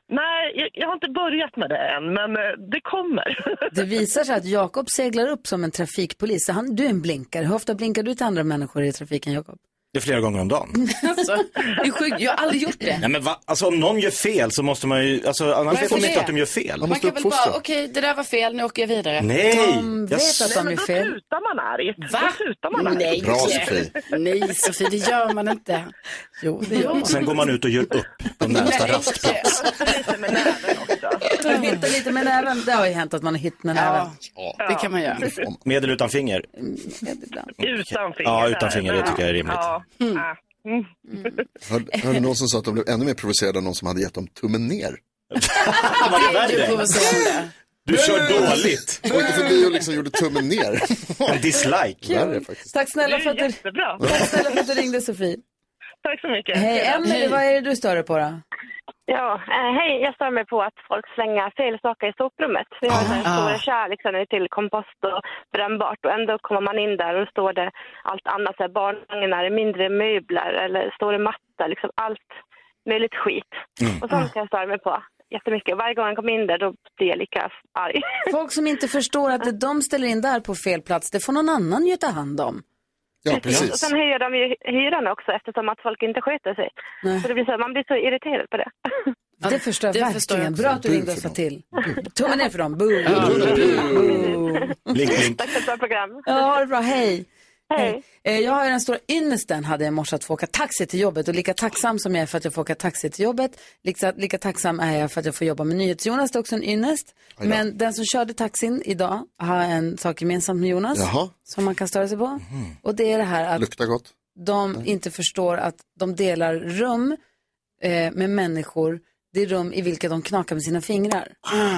Speaker 14: Nej, jag, jag har inte börjat med det än, men eh, det kommer.
Speaker 1: Det visar sig att Jakob seglar upp som en trafikpolis. Så Han, du är en blinkare. Hur ofta blinkar du till andra människor i trafiken, Jakob?
Speaker 3: Det är flera gånger om dagen.
Speaker 4: Alltså, det är sjukt, jag har aldrig gjort det.
Speaker 3: Nej men va? alltså om någon gör fel så måste man ju, alltså annars
Speaker 4: Varför
Speaker 3: vet man
Speaker 4: det?
Speaker 3: inte att de gör fel.
Speaker 4: Man, kan väl bara, okej det där var fel, nu åker jag vidare.
Speaker 3: Nej,
Speaker 4: De
Speaker 3: jag
Speaker 4: vet
Speaker 3: s-
Speaker 4: att de
Speaker 3: Nej, men
Speaker 4: är
Speaker 3: då
Speaker 4: fel. Då man argt. Va? Då tutar man argt. Nej,
Speaker 3: Bra, Sofie.
Speaker 4: Nej, Sofie, det gör man inte. Jo, det gör man.
Speaker 3: Sen går man ut och gör upp
Speaker 4: Mm.
Speaker 3: på närmsta rastplats.
Speaker 1: Hitta lite med näven. Det har ju hänt att man har hittat med näven.
Speaker 4: Det kan man göra.
Speaker 3: Med eller utan finger?
Speaker 4: Mm.
Speaker 14: Utan finger.
Speaker 3: Mm. Ja, utan finger, det tycker jag är rimligt.
Speaker 14: Ja.
Speaker 1: Hmm.
Speaker 14: Mm.
Speaker 5: Hörde, hörde någon som sa att de blev ännu mer provocerade av någon som hade gett dem tummen ner.
Speaker 4: Vad är det är ju provocerande.
Speaker 3: Du kör dåligt.
Speaker 5: Jag åkte förbi och liksom gjorde tummen ner.
Speaker 3: En dislike.
Speaker 5: Värre faktiskt.
Speaker 1: Tack snälla för att du, Tack snälla för att du ringde Sofie.
Speaker 14: Tack så mycket.
Speaker 1: Hej, Emelie,
Speaker 15: Hej.
Speaker 1: vad är det du stör dig på då?
Speaker 15: Ja, eh, hej. Jag stör mig på att folk slänger fel saker i soprummet. Vi har den
Speaker 3: Ah.
Speaker 15: här stora kärleken till kompost och brännbart och ändå kommer man in där och då står det allt annat. så här Barnvagnar, mindre möbler eller står det matta, liksom allt möjligt skit.
Speaker 3: Mm.
Speaker 15: Och sånt kan jag störa mig på jättemycket. Varje gång jag kommer in där då blir jag lika arg.
Speaker 1: Folk som inte förstår att det de ställer in där på fel plats, det får någon annan ju ta hand om.
Speaker 15: Och sen höjer de ju hyran också eftersom att folk inte sköter sig. Så det blir så, här, man blir så irriterad på det.
Speaker 1: Det förstår jag
Speaker 15: det
Speaker 1: verkligen.
Speaker 15: förstår jag också.
Speaker 1: Bra att du
Speaker 15: Bu
Speaker 1: ringde och sa till. Tummen ner för dem. Boo.
Speaker 3: Blink, blink.
Speaker 15: Tack för ett bra program.
Speaker 1: Ja, ha det bra. Hej. Hej. Eh, Jag har ju den stora ynnesten hade jag i morse att få åka taxi till jobbet och lika tacksam som jag är för att jag får åka taxi till jobbet, lika, lika tacksam är jag för att jag får jobba med NyhetsJonas, det är också en ynnest.
Speaker 15: Aj då.
Speaker 1: Men den som körde taxin idag har en sak gemensamt med Jonas
Speaker 5: Jaha.
Speaker 1: som man kan störa sig på.
Speaker 3: Mm.
Speaker 1: Och det är det här att
Speaker 5: Luktar gott.
Speaker 1: de inte förstår att de delar rum eh, med människor, det är rum i vilka de knakar med sina fingrar.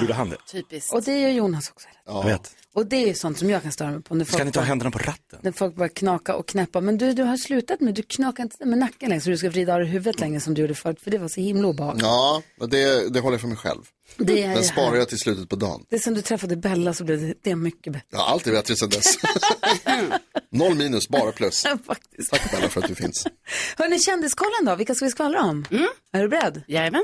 Speaker 3: Gjorde han Ah, det?
Speaker 4: Typiskt.
Speaker 1: Och det gör Jonas också.
Speaker 3: Jag vet.
Speaker 1: Och det är ju sånt som jag kan störa mig på. När folk
Speaker 3: Ska ni ta
Speaker 1: bara-
Speaker 3: händerna på ratten?
Speaker 1: när folk börjar knaka och knäppa. Men du, du har slutat med, du knakar inte med nacken längre så du ska vrida av dig huvudet längre som du gjorde förut. För det var så himla obehagligt.
Speaker 5: Ja, men det, det håller jag för mig själv.
Speaker 1: Det är
Speaker 5: Den
Speaker 1: ju
Speaker 5: sparar
Speaker 1: här.
Speaker 5: jag till slutet på dagen.
Speaker 1: Det är som du träffade Bella så blev det, det är mycket bättre.
Speaker 5: Ja, allt är bättre sedan dess. Noll minus, bara plus. Tack Bella för att du finns.
Speaker 1: Hörni, kändiskollen då, vilka ska vi skvallra om? Är du beredd?
Speaker 4: Mm. Jajamän.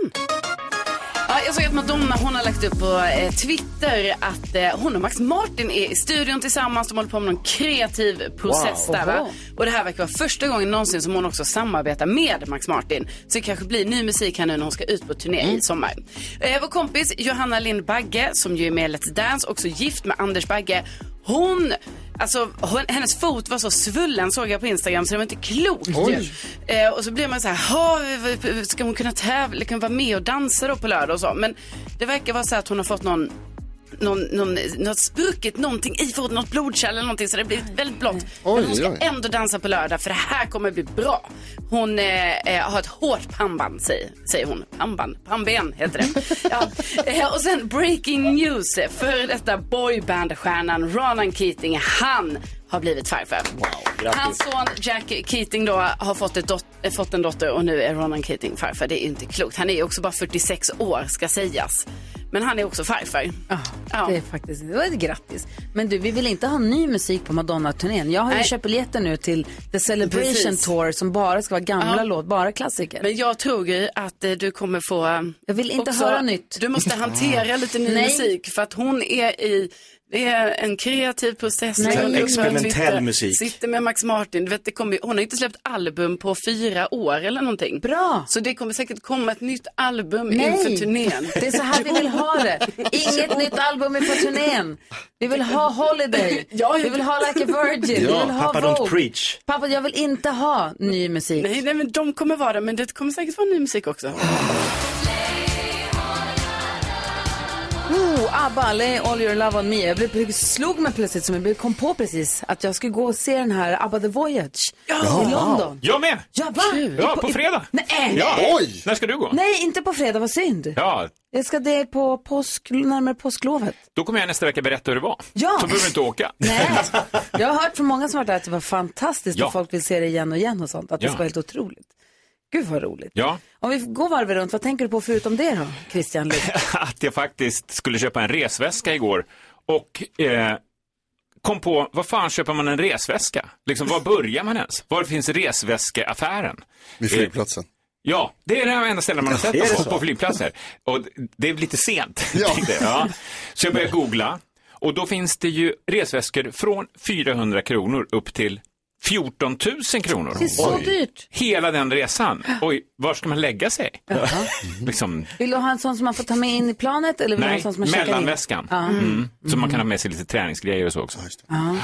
Speaker 4: Ja, jag såg att Madonna hon har lagt upp på eh, Twitter att eh, hon och Max Martin är i studion tillsammans. De håller på med någon kreativ process
Speaker 1: Wow.
Speaker 4: där. Va?
Speaker 1: Oho.
Speaker 4: Och det här verkar vara första gången någonsin som hon också samarbetar med Max Martin. Så det kanske blir ny musik här nu när hon ska ut på turné i sommar. Eh, vår kompis Johanna Lind Bagge som ju är med i Let's Dance, också gift med Anders Bagge. Hon, alltså hon, hennes fot var så svullen såg jag på Instagram så det var inte klokt.
Speaker 16: Oj.
Speaker 4: Eh, och så blev man så här, "Ha, v- v- ska hon kunna tävla, kan vara med och dansa då på lördag och så. Men det verkar vara så här att hon har fått någon någon, någon, något spruckit någonting i foten, något blodkärl eller någonting så det blir väldigt blått. Men hon ska
Speaker 17: oj.
Speaker 4: ändå dansa på lördag för det här kommer bli bra. Hon eh, eh, har ett hårt pannband säger, säger hon. Pannband, pannben heter det. ja. eh, och sen breaking news, för detta boybandstjärnan Ronan Keating, han har blivit farfar.
Speaker 16: grattis.
Speaker 4: Hans son Jack Keating då har fått, ett dot- eh, fått en dotter och nu är Ronan Keating farfar. Det är ju inte klokt. Han är ju också bara 46 år ska sägas. Men han är också farfar. Ja.
Speaker 1: Det är faktiskt, det var ett grattis. Men du, vi vill inte ha ny musik på Madonna-turnén. Jag har ju
Speaker 4: Nej.
Speaker 1: köpt biljetter nu till The Celebration
Speaker 4: Precis.
Speaker 1: Tour som bara ska vara gamla
Speaker 4: Ja.
Speaker 1: låt, bara klassiker.
Speaker 4: Men jag tror ju att eh, du kommer få...
Speaker 1: Jag vill inte
Speaker 4: också,
Speaker 1: höra nytt.
Speaker 4: Du måste hantera lite ny
Speaker 1: Nej.
Speaker 4: musik för att hon är i... Det är en kreativ process.
Speaker 3: Nej.
Speaker 4: Hon jobbar på
Speaker 3: Experimentell
Speaker 4: Twitter,
Speaker 3: musik.
Speaker 4: Sitter med Max Martin. Du vet, det kommer, hon har inte släppt album på fyra år eller någonting.
Speaker 1: Bra.
Speaker 4: Så det kommer säkert komma ett nytt album
Speaker 1: Nej.
Speaker 4: inför turnén.
Speaker 1: Det är så här vi vill ha det. Inget nytt album inför turnén. Vi vill ha Holiday.
Speaker 4: Ja,
Speaker 1: Vi vill ha Like a Virgin. vi vill
Speaker 3: Ja,
Speaker 1: ha
Speaker 3: pappa don't
Speaker 1: Vogue.
Speaker 3: preach.
Speaker 1: Pappa, jag vill inte ha ny musik.
Speaker 4: Nej, nej, men de kommer vara det, men det kommer säkert vara ny musik också.
Speaker 1: Oh, ABBA, Lay All Your Love On Me. Jag blev, slog mig plötsligt som jag blev- kom på precis att jag skulle gå och se den här ABBA The Voyage i London.
Speaker 18: Jag med!
Speaker 1: Ja, va?
Speaker 18: Ja,
Speaker 1: I-
Speaker 18: på
Speaker 1: i-
Speaker 18: fredag.
Speaker 1: Nej!
Speaker 18: Ja. När ska du gå?
Speaker 1: Nej, inte på fredag, vad synd.
Speaker 18: Ja,
Speaker 1: Jag ska det på påsk, närmare påsklovet.
Speaker 18: då kommer jag nästa vecka berätta hur det var.
Speaker 1: Ja.
Speaker 18: Då behöver du inte åka.
Speaker 1: Jag har hört från många som har varit där att det var fantastiskt
Speaker 18: Ja.
Speaker 1: och folk vill se det igen och igen och sånt. Att det
Speaker 18: Ja.
Speaker 1: ska vara helt otroligt. Gud vad roligt.
Speaker 18: Ja,
Speaker 1: Om vi går varvet runt, vad tänker du på förutom det då, Christian Luuk?
Speaker 18: att jag faktiskt skulle köpa en resväska igår och eh, kom på, vad fan köper man en resväska? Liksom, var börjar man ens? Var finns resväskeaffären?
Speaker 5: Vid
Speaker 18: Eh.
Speaker 5: flygplatsen.
Speaker 18: Ja, det är det enda stället man har sett
Speaker 5: Är det
Speaker 18: på,
Speaker 5: så?
Speaker 18: på flygplatser. Och det är lite sent. tänkte jag. Ja. Så jag började googla. Och då finns det ju resväskor från 400 kronor upp till 14 000 kronor.
Speaker 1: Det är så dyrt.
Speaker 18: Hela den resan. Oj, var ska man lägga sig? liksom,
Speaker 1: Vill du ha en sån som man får ta med in i planet eller vill du ha en
Speaker 18: nej,
Speaker 1: sån som man checkar in?
Speaker 18: mellanväskan.
Speaker 1: Ja.
Speaker 18: Mm. Så man kan ha med sig lite träningsgrejer och så också.
Speaker 1: Ja.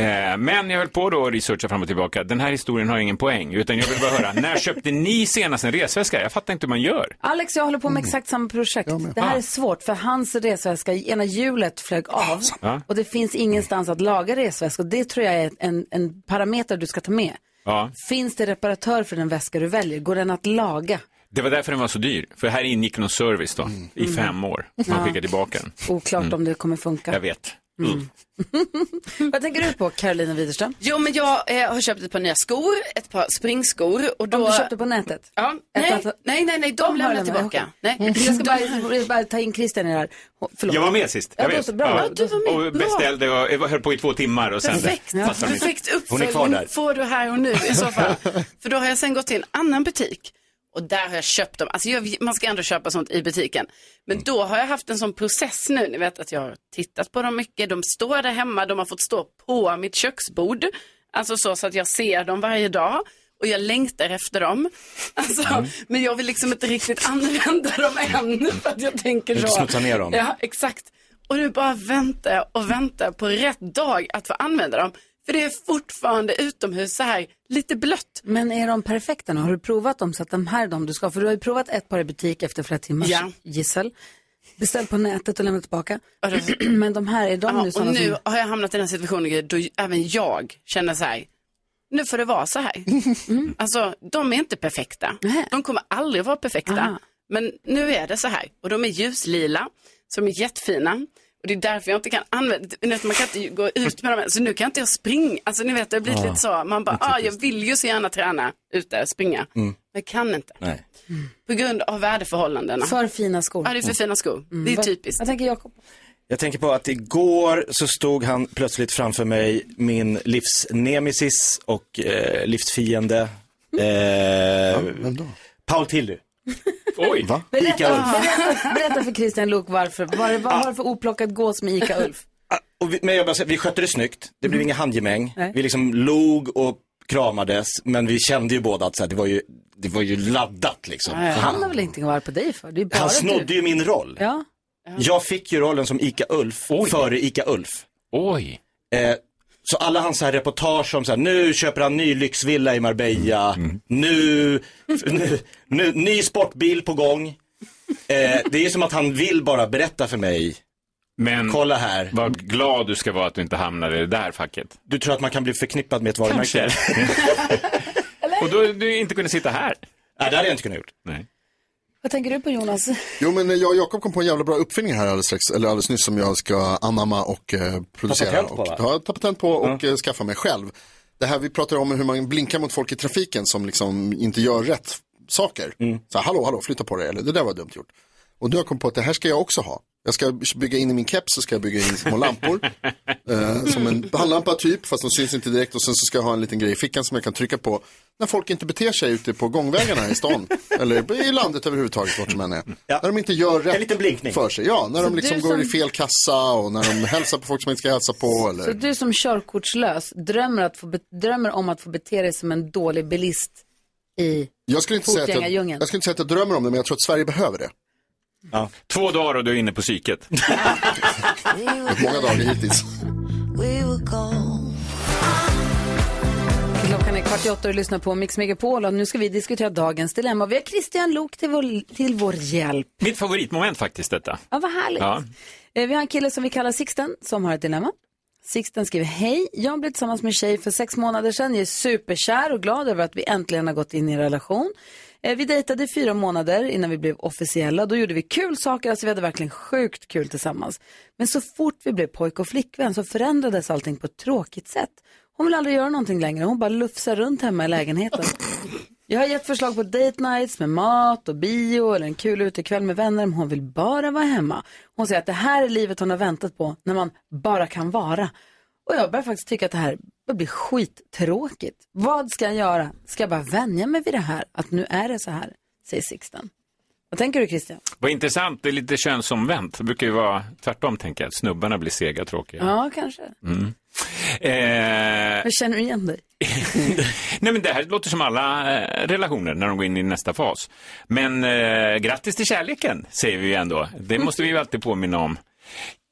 Speaker 18: Eh, Men jag höll på då att researcha fram och tillbaka. Den här historien har ingen poäng, utan jag vill bara höra, när köpte ni senast en resväska? Jag fattar inte hur man gör.
Speaker 1: Alex jag håller på
Speaker 18: Mm.
Speaker 1: med exakt samma projekt. Det
Speaker 18: Ah.
Speaker 1: här är svårt för hans resväska, ena hjulet flög av
Speaker 18: Ja.
Speaker 1: och det finns ingenstans att laga resväskor. Det tror jag är en, en parameter du ska ta med.
Speaker 18: Ja.
Speaker 1: Finns det reparatör för den väska du väljer? Går den att laga?
Speaker 18: Det var därför den var så dyr, för här ingick någon service då, i fem år. Man
Speaker 1: Mm. Ja.
Speaker 18: skickade tillbaka den.
Speaker 1: Oklart
Speaker 18: Mm.
Speaker 1: om det kommer funka.
Speaker 18: Jag vet.
Speaker 1: Vad tänker du på Carolina Widerström?
Speaker 4: Jo, men jag eh, har köpt ett par nya skor, ett par springskor. Och då...
Speaker 1: du köpte på nätet?
Speaker 4: Ja, nej, nej, nej, nej, de,
Speaker 1: har
Speaker 4: lämnar jag
Speaker 1: lämnat-
Speaker 4: tillbaka.
Speaker 1: okej.
Speaker 4: Nej.
Speaker 1: Jag ska bara, jag bara ta in Christian i det här. Förlåt.
Speaker 18: Jag var med sist,
Speaker 1: Ja,
Speaker 18: jag
Speaker 1: då
Speaker 18: vet.
Speaker 1: så, bra. Ja, du var med.
Speaker 18: Och
Speaker 1: Bra.
Speaker 18: beställde och jag höll på i två timmar och sen
Speaker 4: Perfekt,
Speaker 18: fastnade de inte.
Speaker 4: perfekt
Speaker 18: Hon är kvar
Speaker 4: uppföljning
Speaker 18: där.
Speaker 4: får du här och nu i så fall. För då har jag sen gått till en annan butik och där har jag köpt dem. Alltså jag, man ska ändå köpa sånt i butiken. Men då har jag haft en sån process nu. Ni vet att jag har tittat på dem mycket. De står där hemma. De har fått stå på mitt köksbord. Alltså så, så att jag ser dem varje dag. Och jag längtar efter dem. Alltså,
Speaker 18: Mm.
Speaker 4: Men jag vill liksom inte riktigt använda dem än. För att jag tänker
Speaker 18: Du
Speaker 4: så.
Speaker 18: vill smutsa ner dem.
Speaker 4: Ja, exakt. Och nu bara väntar jag och väntar på rätt dag att få använda dem. För det är fortfarande utomhus så här lite blött.
Speaker 1: Men är de perfekta nu? Har du provat dem så att de här är de du ska ha? För du har ju provat ett par i butik efter flera timmars
Speaker 4: Ja.
Speaker 1: gissel. Beställt på nätet och lämnat tillbaka. Men de här, är de
Speaker 4: Ja,
Speaker 1: nu
Speaker 4: och
Speaker 1: sådana
Speaker 4: nu
Speaker 1: som...
Speaker 4: har jag hamnat i den här situationen Gry, då även jag känner så här, nu får det vara så här.
Speaker 1: Mm.
Speaker 4: Alltså, de är inte perfekta. De kommer aldrig vara perfekta. Men nu är det så här. Och de är ljuslila, så de är jättefina. Och det är därför jag inte kan använda, ni vet, man kan inte gå ut med dem. Så nu kan inte jag springa. Alltså ni vet, det har blivit
Speaker 18: Ja,
Speaker 4: lite så. Man bara, ah, jag vill ju så gärna träna ute, springa.
Speaker 18: Mm.
Speaker 4: Men kan inte.
Speaker 18: Nej.
Speaker 4: På grund av väderförhållandena.
Speaker 1: För fina skor. Mm.
Speaker 4: Ja, det är för fina skor. Det är
Speaker 1: Vad-
Speaker 4: typiskt.
Speaker 1: Vad tänker Jakob?
Speaker 3: Jag tänker på att igår så stod han plötsligt framför mig, min livsnemesis och eh, livsfiende. Eh, Paul Tilly.
Speaker 18: Oj!
Speaker 3: Va? Ica
Speaker 1: Berätta,
Speaker 3: Ulf.
Speaker 1: berätta, berätta för Christian Luuk varför. Vad, vad har du för oplockad gås med ICA Ulf?
Speaker 3: Och vi, men jag bara, säger, vi skötte det snyggt, det blev inga handgemäng.
Speaker 1: Mm. Nej.
Speaker 3: Vi liksom log och kramades, men vi kände ju båda att så här, det, var ju, det var ju laddat liksom.
Speaker 1: Han har
Speaker 3: Han,
Speaker 1: väl ingenting att vara på dig för? Det är bara
Speaker 3: han
Speaker 1: du.
Speaker 3: snodde ju min roll.
Speaker 1: Ja.
Speaker 3: Jag fick ju rollen som Ica Ulf före Ica Ulf.
Speaker 18: Oj.
Speaker 3: Eh, så alla hans så här reportage om så här, nu köper han ny lyxvilla i Marbella,
Speaker 1: Mm.
Speaker 3: Nu, nu, nu, ny sportbil på gång. Eh, det är som att han vill bara berätta för mig,
Speaker 18: Men
Speaker 3: kolla här.
Speaker 18: vad glad du ska vara att du inte hamnade i det där facket.
Speaker 3: Du tror att man kan bli förknippad med ett varumärke?
Speaker 18: Kanske. och då du inte kunde sitta här.
Speaker 3: Nej, det hade jag inte kunnat gjort.
Speaker 18: Nej.
Speaker 1: Vad tänker du på Jonas?
Speaker 5: Jo men eh, jag och Jakob kom på en jävla bra uppfinning här alldeles, strax, eller alldeles nyss som jag ska anamma och eh, producera.
Speaker 3: patent på,
Speaker 5: och,
Speaker 3: va?
Speaker 5: ja, ta patent på och eh, skaffa mig själv. Det här vi pratar om hur man blinkar mot folk i trafiken som liksom inte gör rätt saker.
Speaker 3: Mm.
Speaker 5: Så här, hallå, hallå, flytta på dig, eller det där var dumt gjort. Och nu har jag kommit på att det här ska jag också ha. Jag ska bygga in i min keps så ska jag bygga in små lampor. eh, som en pannlampa typ, fast de syns inte direkt. Och sen så ska jag ha en liten grej i fickan som jag kan trycka på när folk inte beter sig ute på gångvägarna här i stan. eller i landet överhuvudtaget, vart de än är. När de inte gör rätt för sig. Ja, när
Speaker 1: Så
Speaker 5: de liksom
Speaker 1: du
Speaker 5: går i
Speaker 1: som-
Speaker 5: fel kassa och när de hälsar på folk som inte ska hälsa på. Eller...
Speaker 1: Så du som körkortslös drömmer, att få be- drömmer om att få bete dig som en dålig bilist i
Speaker 5: Jag skulle, inte säga att jag,
Speaker 1: Fotgängarjungeln.
Speaker 5: jag skulle inte säga att jag drömmer om det, men jag tror att Sverige behöver det.
Speaker 18: Två dagar och du är inne på psyket.
Speaker 5: Många dagar hittills.
Speaker 1: Klockan är kvart i åtta och du lyssnar på Mix Megapol och nu ska vi diskutera dagens dilemma. Vi har Christian Lok till vår, till vår hjälp.
Speaker 18: Mitt favoritmoment faktiskt detta.
Speaker 1: Ja, vad härligt.
Speaker 18: Ja.
Speaker 1: Eh, Vi har en kille som vi kallar Sixten som har ett dilemma. Sixten skriver, hej, jag blev tillsammans med en tjej för sex månader sedan. Jag är superkär och glad över att vi äntligen har gått in i en relation. Eh, Vi dejtade i fyra månader innan vi blev officiella. Då gjorde vi kul saker, alltså vi hade verkligen sjukt kul tillsammans. Men så fort vi blev pojk och flickvän så förändrades allting på ett tråkigt sätt. Hon vill aldrig göra någonting längre, hon bara lufsar runt hemma i lägenheten. Jag har gett förslag på date nights med mat och bio eller en kul utekväll med vänner, men hon vill bara vara hemma. Hon säger att det här är livet hon har väntat på, när man bara kan vara. Och jag börjar faktiskt tycka att det här börjar bli skittråkigt. Vad ska jag göra? Ska jag bara vänja mig vid det här? Att nu är det så här, säger Sixten. Vad tänker du Christian?
Speaker 18: Vad intressant, det är lite könsomvänt. Det brukar ju vara tvärtom, tänker jag. att Snubbarna blir sega tråkiga.
Speaker 1: Ja, kanske.
Speaker 18: Mm. Eh,
Speaker 1: Jag känner igen dig.
Speaker 18: nej men det här låter som alla eh, relationer när de går in i nästa fas. Men eh, grattis till kärleken, säger vi ju ändå. Det måste vi ju alltid påminna om.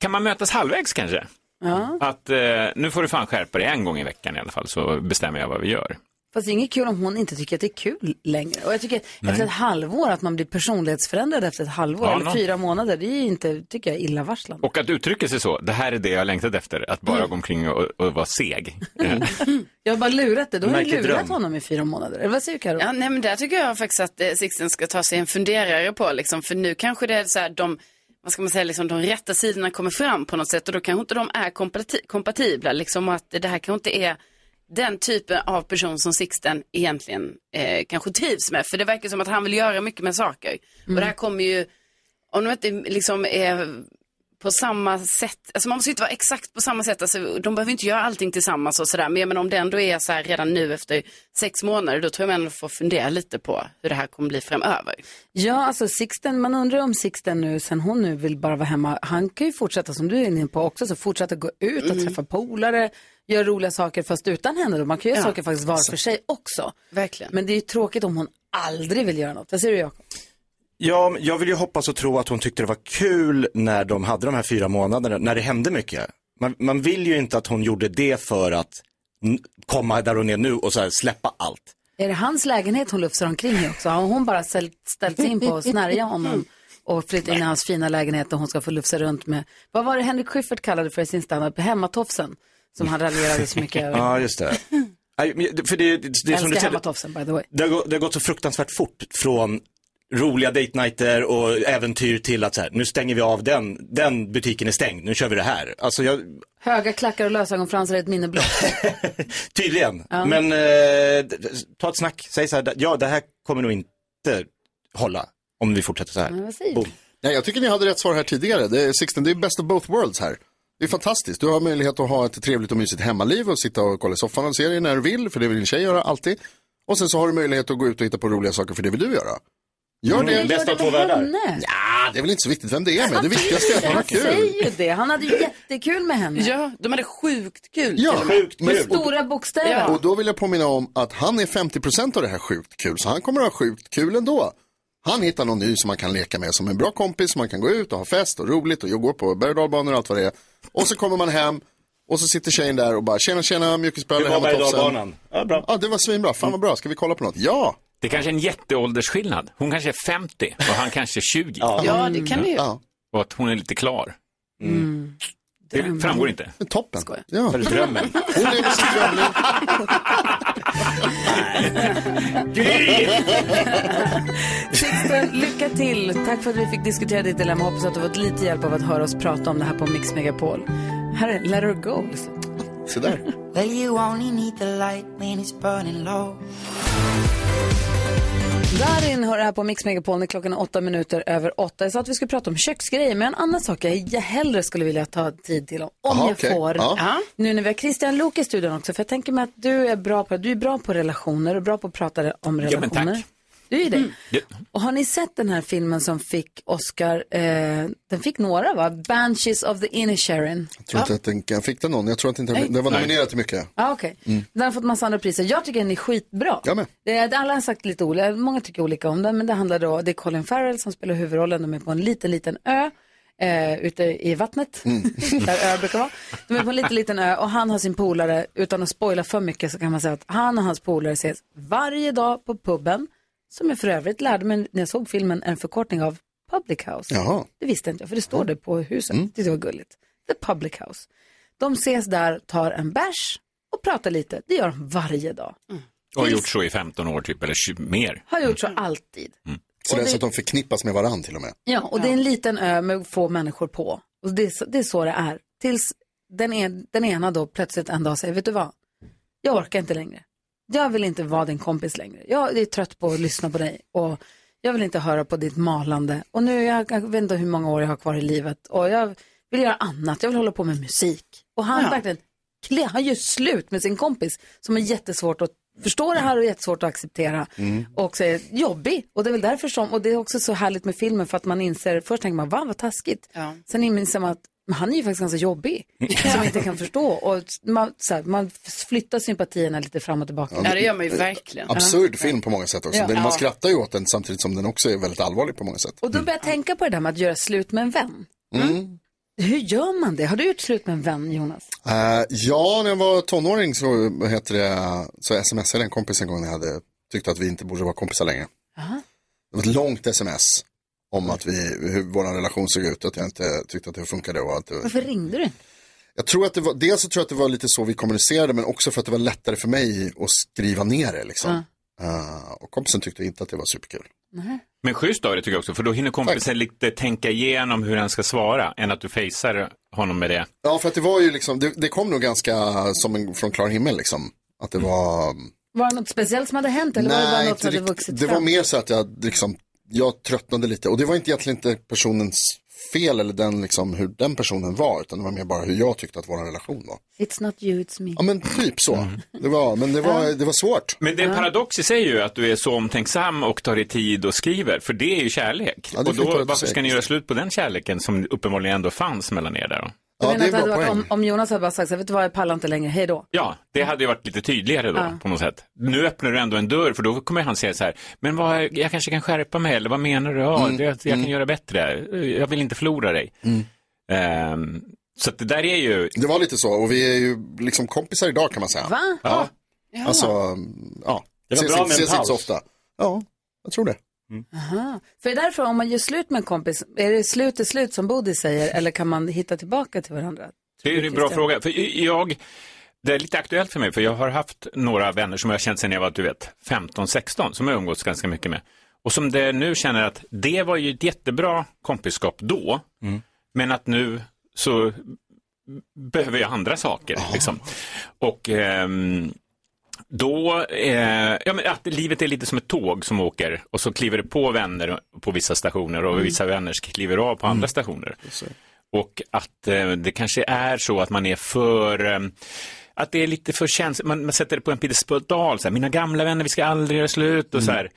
Speaker 18: Kan man mötas halvvägs kanske?
Speaker 1: Ja.
Speaker 18: Att eh, nu får du fan skärpa dig en gång i veckan i alla fall så bestämmer jag vad vi gör.
Speaker 1: Fast det är inget kul om hon inte tycker att det är kul längre. Och jag tycker
Speaker 18: Nej.
Speaker 1: efter ett halvår att man blir personlighetsförändrad efter ett halvår
Speaker 18: Ja,
Speaker 1: eller
Speaker 18: nå-
Speaker 1: fyra månader, det är ju inte, tycker jag, är illavarslande.
Speaker 18: Och att uttrycka sig så, det här är det jag längtat efter, att bara gå omkring och, och vara seg. Eh,
Speaker 1: Jag har bara lurat det. Då har jag
Speaker 18: Märklig
Speaker 1: lurat
Speaker 18: dröm.
Speaker 1: honom i fyra månader. Eller vad säger du Karo?
Speaker 4: Ja, nej, men där tycker jag faktiskt att eh, Sixten ska ta sig en funderare på, liksom, för nu kanske det är så här, de, vad ska man säga, liksom, de rätta sidorna kommer fram på något sätt och då kanske inte de är kompati- kompatibla, liksom, och att det här kanske inte är den typen av person som Sixten egentligen eh, kanske trivs med, för det verkar som att han vill göra mycket med saker. Och
Speaker 1: Mm.
Speaker 4: det här kommer ju, om de inte liksom är på samma sätt, alltså man måste ju inte vara exakt på samma sätt, alltså, de behöver inte göra allting tillsammans och sådär, men jag menar om det ändå är så här redan nu efter sex månader, då tror jag man ändå får fundera lite på hur det här kommer bli framöver.
Speaker 1: Ja, alltså Sixten, man undrar om Sixten nu, sen hon nu vill bara vara hemma, han kan ju fortsätta som du är inne på också, så fortsätta gå ut
Speaker 4: Mm.
Speaker 1: och träffa polare, göra roliga saker fast utan henne då. Man kan ju göra
Speaker 4: Ja.
Speaker 1: saker faktiskt var för
Speaker 4: Så-
Speaker 1: sig också.
Speaker 4: Verkligen.
Speaker 1: Men det är ju tråkigt om hon aldrig vill göra något. Vad säger du Jakob?
Speaker 3: Ja, men jag vill ju hoppas och tro att hon tyckte det var kul när de hade de här fyra månaderna, när det hände mycket. Man, man vill ju inte att hon gjorde det för att n- komma där hon är nu och så här släppa allt.
Speaker 1: Är det hans lägenhet hon lufsar omkring i också? Har hon bara ställt, ställt sig in på att snärja honom och flytta in i hans fina lägenhet och hon ska få lufsa runt med, vad var det Henrik Schyffert kallade för i sin standup, hemmatofsen? Som han raljerade så mycket över.
Speaker 3: Ja, just det. Nej, men det- För det, det, det är som
Speaker 1: Älskar
Speaker 3: du säger,
Speaker 1: hemmatofsen by the way.
Speaker 3: det har, gått, det har gått så fruktansvärt fort från roliga date nighter och äventyr till att så här, nu stänger vi av den, den butiken är stängd, nu kör vi det här. Alltså jag,
Speaker 1: Höga klackar och lösögonfransar är ett minne blott.
Speaker 3: tydligen.
Speaker 1: Ja.
Speaker 3: Men eh, d- d- ta ett snack, säg så här, ja det här kommer nog inte hålla om vi fortsätter så här.
Speaker 1: Men vad säger
Speaker 3: Boom.
Speaker 5: Nej, jag tycker ni hade rätt svar här tidigare. Det är, Sixten, det är best of both worlds här. Det är fantastiskt. Du har möjlighet att ha ett trevligt och mysigt hemmaliv och sitta och kolla i soffan och serier när du vill, för det vill din tjej göra alltid. Och sen så har du möjlighet att gå ut och hitta på roliga saker, för det vill du göra. Gör
Speaker 3: Mm,
Speaker 5: det.
Speaker 3: bäst av två världar.
Speaker 5: Ja, det är väl inte så viktigt vem det är med. Det viktigaste är att man har
Speaker 1: Han
Speaker 5: kul.
Speaker 1: säger ju det. Han hade ju jättekul med henne.
Speaker 4: Ja, de hade sjukt kul.
Speaker 5: Ja, till och med. sjukt
Speaker 1: Med
Speaker 5: kul.
Speaker 1: stora bokstäver.
Speaker 5: Och då vill jag påminna om att han är 50% av det här sjukt kul, så han kommer ha sjukt kul ändå. Han hittar någon ny som man kan leka med, som en bra kompis, som man kan gå ut och ha fest och roligt och gå på berg och dalbanor och allt vad det är. Och så kommer man hem och så sitter tjejen där och bara tjena tjena mjukisbrallor,
Speaker 3: Hur var
Speaker 5: hemmatofsen.
Speaker 3: berg-och-dalbanan? Ja, bra.
Speaker 5: Ja, det var svinbra. Fan vad bra, ska vi kolla på något? Ja!
Speaker 18: Det är kanske är en jätteåldersskillnad. Hon kanske är 50 och han kanske är 20.
Speaker 4: Ja, det kan det ju. Mm. Ja.
Speaker 18: Och att hon är lite klar. Det framgår inte.
Speaker 5: Mm. Toppen. Ja.
Speaker 3: För drömmen.
Speaker 5: Hon lever sin
Speaker 1: Sixten, lycka till. Tack för att vi fick diskutera ditt dilemma. Hoppas att du har fått lite hjälp av att höra oss prata om det här på Mix Megapol. Här är Let Her Go. Liksom.
Speaker 5: Så där.
Speaker 13: Well, you only need the light when it's burning low.
Speaker 1: Darin hör det här på Mix Megapol när klockan är åtta minuter över åtta. Jag sa att vi skulle prata om köksgrejer, men en annan sak jag jag hellre skulle vilja ta tid till om, om
Speaker 13: Aha,
Speaker 1: jag
Speaker 13: okej.
Speaker 1: får.
Speaker 13: Ja.
Speaker 1: Nu när vi har Christian Lok i studion också, för jag tänker mig att du är bra på, du är bra på relationer och bra på att prata om
Speaker 13: Ja, men
Speaker 1: relationer.
Speaker 13: tack. Mm.
Speaker 1: Du är det. Och har ni sett den här filmen som fick Oscar, eh, den fick några va? Banshees of the Inisherin.
Speaker 5: Jag tror inte att den jag fick den någon. Jag tror inte
Speaker 1: Nej.
Speaker 5: den, den var
Speaker 1: Nej.
Speaker 5: nominerad till mycket.
Speaker 1: Ja, okej.
Speaker 5: Mm.
Speaker 1: Den har fått massa andra priser. Jag tycker den är skitbra.
Speaker 5: Jag med.
Speaker 1: Det är, alla har sagt lite olika, många tycker olika om den, men det handlar då, det är Colin Farrell som spelar huvudrollen, de är på en liten, liten ö. Eh, ute i vattnet, där öar brukar vara. De är på en liten, liten ö och han har sin polare, utan att spoila för mycket så kan man säga att han och hans polare ses varje dag på puben, som jag för övrigt lärde mig när jag såg filmen är en förkortning av Public House.
Speaker 5: Jaha.
Speaker 1: Det visste inte jag, för det står det på huset. Det var gulligt. The Public House. De ses där, tar en bärs och pratar lite. Det gör de varje dag.
Speaker 18: Och har gjort så i 15 år typ, eller 20, mer.
Speaker 1: Har gjort så alltid.
Speaker 5: Så det är
Speaker 1: det-
Speaker 5: så att de förknippas med varandra till och med.
Speaker 1: Ja, och det är en liten ö med få människor på. Och det, är så- det är så det är. Tills den, en, den ena då plötsligt en dag säger, vet du vad? Jag orkar inte längre. Jag vill inte vara din kompis längre. Jag är trött på att lyssna på dig och jag vill inte höra på ditt malande. Och nu, jag, jag vet inte hur många år jag har kvar i livet och jag vill göra annat. Jag vill hålla på med musik. Och han verkligen, kli- han gör slut med sin kompis som är jättesvårt att förstår det här och är jättesvårt att acceptera.
Speaker 16: Mm.
Speaker 1: Och så är det jobbig. Och det är väl därför som, och det är också så härligt med filmen för att man inser, först tänker man va vad taskigt. Sen inser man att men han är ju faktiskt ganska jobbig, som man inte kan förstå. Och man, så här, man flyttar sympatierna lite fram och tillbaka.
Speaker 4: Ja, det gör man ju verkligen.
Speaker 5: Absurd film på många sätt också.
Speaker 1: Ja.
Speaker 5: Den,
Speaker 1: Ja.
Speaker 5: man skrattar ju åt den samtidigt som den också är väldigt allvarlig på många sätt.
Speaker 1: Och då börjar jag tänka på det där med att göra slut med en vän.
Speaker 5: Mm.
Speaker 1: Hur gör man det? Har du gjort slut med en vän, Jonas?
Speaker 5: Eh, ja, när jag var tonåring så, vad heter det, så smsade en kompis en gång när jag hade tyckt att vi inte borde vara kompisar längre.
Speaker 1: Aha.
Speaker 5: Det var ett långt sms om att vi, hur vår relation såg ut, att jag inte tyckte att det funkade. Och att det,
Speaker 1: Varför ringde du?
Speaker 5: Jag tror att det var, dels så tror jag att det var lite så vi kommunicerade men också för att det var lättare för mig att skriva ner det liksom. Eh, och kompisen tyckte inte att det var superkul.
Speaker 1: Nej.
Speaker 18: Men schysst av det tycker jag också, för då hinner kompisen lite tänka igenom hur han ska svara, än att du facear honom med det.
Speaker 5: Ja, för att det var ju liksom, det, det kom nog ganska som en, från klar himmel liksom. Att det var... mm,
Speaker 1: Var det något speciellt som hade hänt eller var det bara något som hade vuxit
Speaker 5: Det var
Speaker 1: fram?
Speaker 5: mer så att jag liksom, jag tröttnade lite och det var inte egentligen inte personens fel eller den liksom hur den personen var utan det var mer bara hur jag tyckte att vår relation var.
Speaker 1: It's not you, it's me.
Speaker 5: Ja men typ så. Det var, men det var, det var svårt.
Speaker 18: Men det är en paradox i sig ju att du är så omtänksam och tar dig tid och skriver, för det är ju kärlek.
Speaker 5: det
Speaker 18: och
Speaker 5: förstår jag
Speaker 18: då,
Speaker 5: att du
Speaker 18: varför ska
Speaker 5: säger.
Speaker 18: ni göra slut på den kärleken som uppenbarligen ändå fanns mellan er där? då?
Speaker 1: Du menar att hade varit, om, om Jonas hade bara sagt så här, vet du vad, jag pallar inte längre, hej då.
Speaker 18: Ja, det hade ju varit lite tydligare då
Speaker 1: Ja.
Speaker 18: på något sätt. Nu öppnar du ändå en dörr för då kommer han säga så här, men vad, jag kanske kan skärpa mig eller vad menar du? Ja,
Speaker 5: Mm,
Speaker 18: det, jag kan göra bättre, jag vill inte förlora dig. Ehm, så att det där är ju...
Speaker 5: Det var lite så och vi är ju liksom kompisar idag kan man säga.
Speaker 1: Va?
Speaker 5: Ja.
Speaker 1: Ja.
Speaker 5: Alltså, ja.
Speaker 1: Det var
Speaker 5: ses,
Speaker 1: bra med en
Speaker 5: ses inte
Speaker 1: paus.
Speaker 5: så ofta. Ja, jag tror det.
Speaker 1: Aha. För det är därför om man gör slut med en kompis, är det slut är slut som Bodis säger eller kan man hitta tillbaka till varandra?
Speaker 18: Det är en bra
Speaker 1: Christian.
Speaker 18: fråga. För jag, det är lite aktuellt för mig, för jag har haft några vänner som jag har känt sedan jag var, du vet, 15-16, som jag har umgåtts ganska mycket med. Och som det nu känner att det var ju ett jättebra kompisskap då, men att nu så behöver jag andra saker. Liksom. Och ehm, då, eh, ja, men att livet är lite som ett tåg som åker och så kliver det på vänner på vissa stationer och
Speaker 17: Mm.
Speaker 18: vissa vänner kliver av på andra stationer. Och att eh, det kanske är så att man är för, eh, att det är lite för känsligt, man, man sätter det på en piedestal, så här, mina gamla vänner, vi ska aldrig göra slut och så här.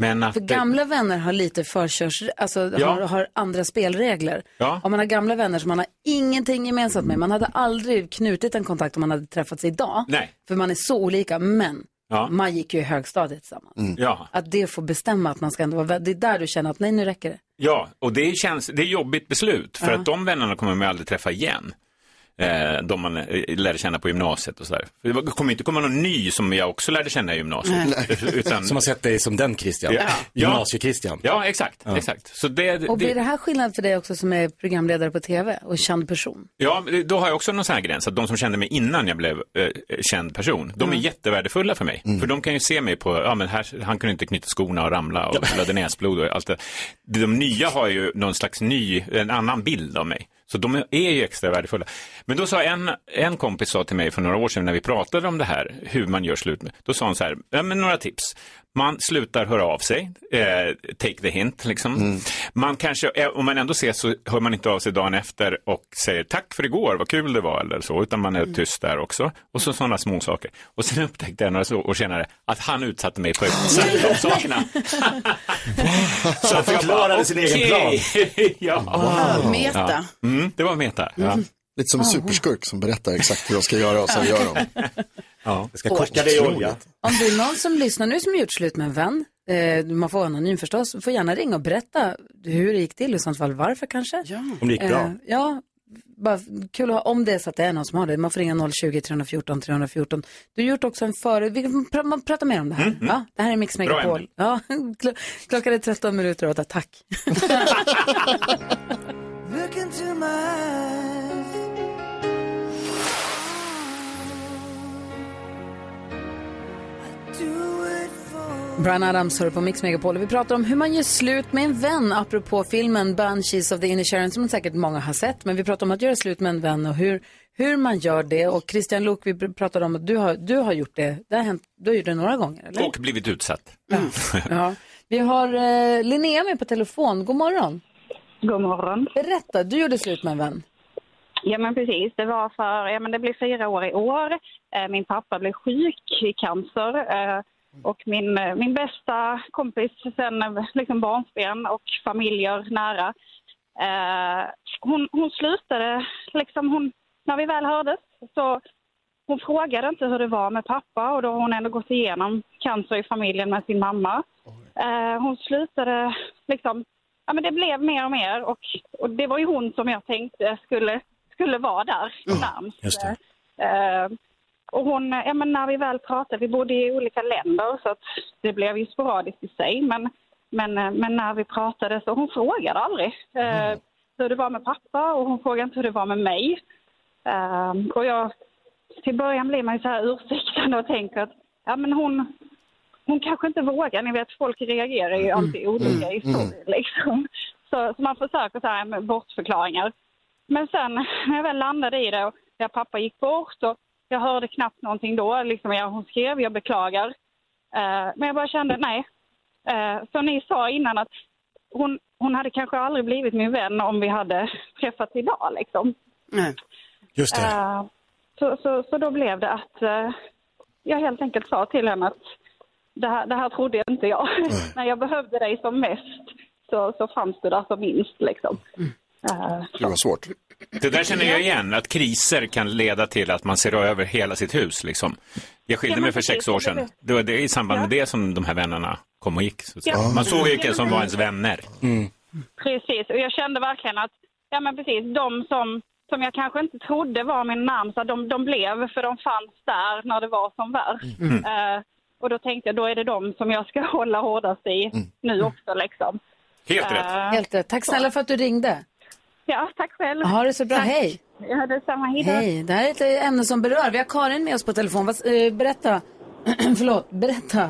Speaker 18: Men att,
Speaker 1: För gamla vänner har lite förkörs, alltså
Speaker 18: Ja.
Speaker 1: har, har andra spelregler.
Speaker 18: Ja.
Speaker 1: Om man har gamla vänner som man har ingenting gemensamt med, man hade aldrig knutit en kontakt om man hade träffats idag.
Speaker 18: Nej.
Speaker 1: För man är så olika, men
Speaker 18: Ja.
Speaker 1: man gick ju i högstadiet tillsammans.
Speaker 18: Ja.
Speaker 1: Att det får bestämma att man ska ändå vara, vä- det är där du känner att nej nu räcker det.
Speaker 18: Ja, och det känns, det är ett jobbigt beslut för
Speaker 1: Ja.
Speaker 18: att de vännerna kommer man ju aldrig träffa igen. Eh, de man eh, lärde känna på gymnasiet och sådär. För Det var- kommer inte komma någon ny som jag också lärde känna i gymnasiet. Utan,
Speaker 17: Som har sett dig som den Christian.
Speaker 18: Ja.
Speaker 17: Gymnasie-Christian.
Speaker 18: ja, exakt. exakt. Så det,
Speaker 1: Och blir
Speaker 18: det,
Speaker 1: det här skillnad för dig också som är programledare på tv och känd person?
Speaker 18: ja, men det- då har jag också någon sån här gräns, att de som kände mig innan jag blev eh, eh, känd person, de är jättevärdefulla för mig. För de kan ju se mig på, ja men här, han kunde inte knyta skorna och ramla och blödde näsblod och allt det. De nya har ju någon slags ny, en annan bild av mig. Så de är ju extra värdefulla. Men då sa en, en kompis sa till mig för några år sedan när vi pratade om det här, hur man gör slut med, då sa hon så här, ja men några tips. Man slutar höra av sig, eh, take the hint liksom.
Speaker 17: Mm.
Speaker 18: Man kanske, eh, om man ändå ses så hör man inte av sig dagen efter och säger tack för igår, vad kul det var eller så, utan man
Speaker 17: Mm.
Speaker 18: är tyst där också. Och så sådana små saker. Och sen upptäckte jag några så- år senare att han utsatte mig för exakt de sakerna. så att jag
Speaker 17: Förklarade sin egen
Speaker 18: okej. ja.
Speaker 5: Wow.
Speaker 18: Ja.
Speaker 5: Meta.
Speaker 18: Mm, det var meta. Ja.
Speaker 5: Lite som en superskurk som berättar exakt hur de ska göra och sen gör de.
Speaker 18: Ja.
Speaker 17: Jag ska
Speaker 5: koka
Speaker 17: dig i olja.
Speaker 1: Om det är någon som lyssnar nu som gjort slut med en vän, eh, man får vara anonym förstås, får gärna ringa och berätta hur det gick till och i sånt fall varför kanske. Ja.
Speaker 17: Om det gick bra.
Speaker 1: ja, bara kul att ha- om det är så att det är någon som har det. Man får ringa 020 314 314. Du har gjort också en före, vi kan pr- man pratar mer om det
Speaker 17: Mm,
Speaker 1: här. Ja, det här är Mix
Speaker 16: Bra
Speaker 1: Megapol.
Speaker 16: ämne.
Speaker 1: Ja, kl- klockan är 13 minuter åt åtta. tack.
Speaker 13: Look into my eyes. I do it for
Speaker 1: Brian Adams hör på Mix Megapol och vi pratar om hur man gör slut med en vän apropå filmen Banshees of the Inner Sharon som säkert många har sett. Men vi pratar om att göra slut med en vän och hur, hur man gör det. Och Christian Luuk, vi pr- pratade om att du har, du har gjort det. det har hänt, du har gjort det några gånger, eller?
Speaker 18: Och blivit utsatt.
Speaker 5: Mm.
Speaker 1: Ja. Vi har eh, Linnea med på telefon. God morgon. God morgon. Berätta, du gjorde slut med en vän.
Speaker 16: Ja, men precis. Det var för, ja, men det blir fyra år i år. Eh, Min pappa blev sjuk i cancer. eh, Och min, eh, min bästa kompis sen eh, liksom barnsben och familjer nära. eh, Hon, hon slutade, liksom hon, när vi väl hördes, så hon frågade inte hur det var med pappa och då har hon ändå gått igenom cancer i familjen med sin mamma. Eh, Hon slutade liksom, ja men det blev mer och mer och, och det var ju hon som jag tänkte skulle, skulle vara där närmst.
Speaker 19: just det.
Speaker 16: Eh, Och hon, ja men när vi väl pratade, vi bodde i olika länder så att det blev ju sporadiskt i sig men, men, eh, men när vi pratade så hon frågade aldrig eh, hur det var med pappa och hon frågade inte hur det var med mig. Eh, Och jag till början blir man ju så här ursäktande och tänker att ja, men hon, hon kanske inte vågar. Ni vet, folk reagerar ju alltid olika i story, liksom. Så, så man försöker så här med bortförklaringar. Men sen när jag väl landade i det och jag pappa gick bort och jag hörde knappt någonting då. Liksom, ja, hon skrev, jag beklagar. Eh, men jag bara kände, nej. Eh, som ni sa innan att hon, hon hade kanske aldrig blivit min vän om vi hade träffats idag liksom.
Speaker 17: Just det.
Speaker 16: Eh, så, så, så då blev det att eh, jag helt enkelt sa till henne att det här, det här trodde inte jag. När jag behövde dig som mest så, så fanns du där som minst liksom. Eh,
Speaker 5: Det var svårt.
Speaker 18: Det där känner jag igen, att kriser kan leda till att man ser över hela sitt hus. Liksom. Jag
Speaker 16: Ja,
Speaker 18: skilde
Speaker 16: men
Speaker 18: mig för sex
Speaker 16: precis,
Speaker 18: år
Speaker 16: det är
Speaker 18: sedan.
Speaker 16: det.
Speaker 18: Det var det i samband med det som de här vännerna kom och gick. Så att säga.
Speaker 16: Ja.
Speaker 18: Man såg vilka som var ens vänner.
Speaker 16: Precis, och jag kände verkligen att ja, men precis, de som, som jag kanske inte trodde var min närmsta, de, de blev för de fanns där när det var som värst.
Speaker 19: Mm.
Speaker 16: Eh, och då tänkte jag, då är det de som jag ska hålla hårdast i nu också liksom.
Speaker 18: Helt
Speaker 16: Eh,
Speaker 1: Helt rätt. Tack snälla för att du ringde.
Speaker 16: Ja, tack själv.
Speaker 1: Ha det så bra.
Speaker 16: Tack.
Speaker 1: Hej.
Speaker 16: Ja, detsamma. Hej då.
Speaker 1: Hej. Det här är ett eh, ämne som berör. Vi har Karin med oss på telefon. Vad, s- eh, berätta. Förlåt, berätta.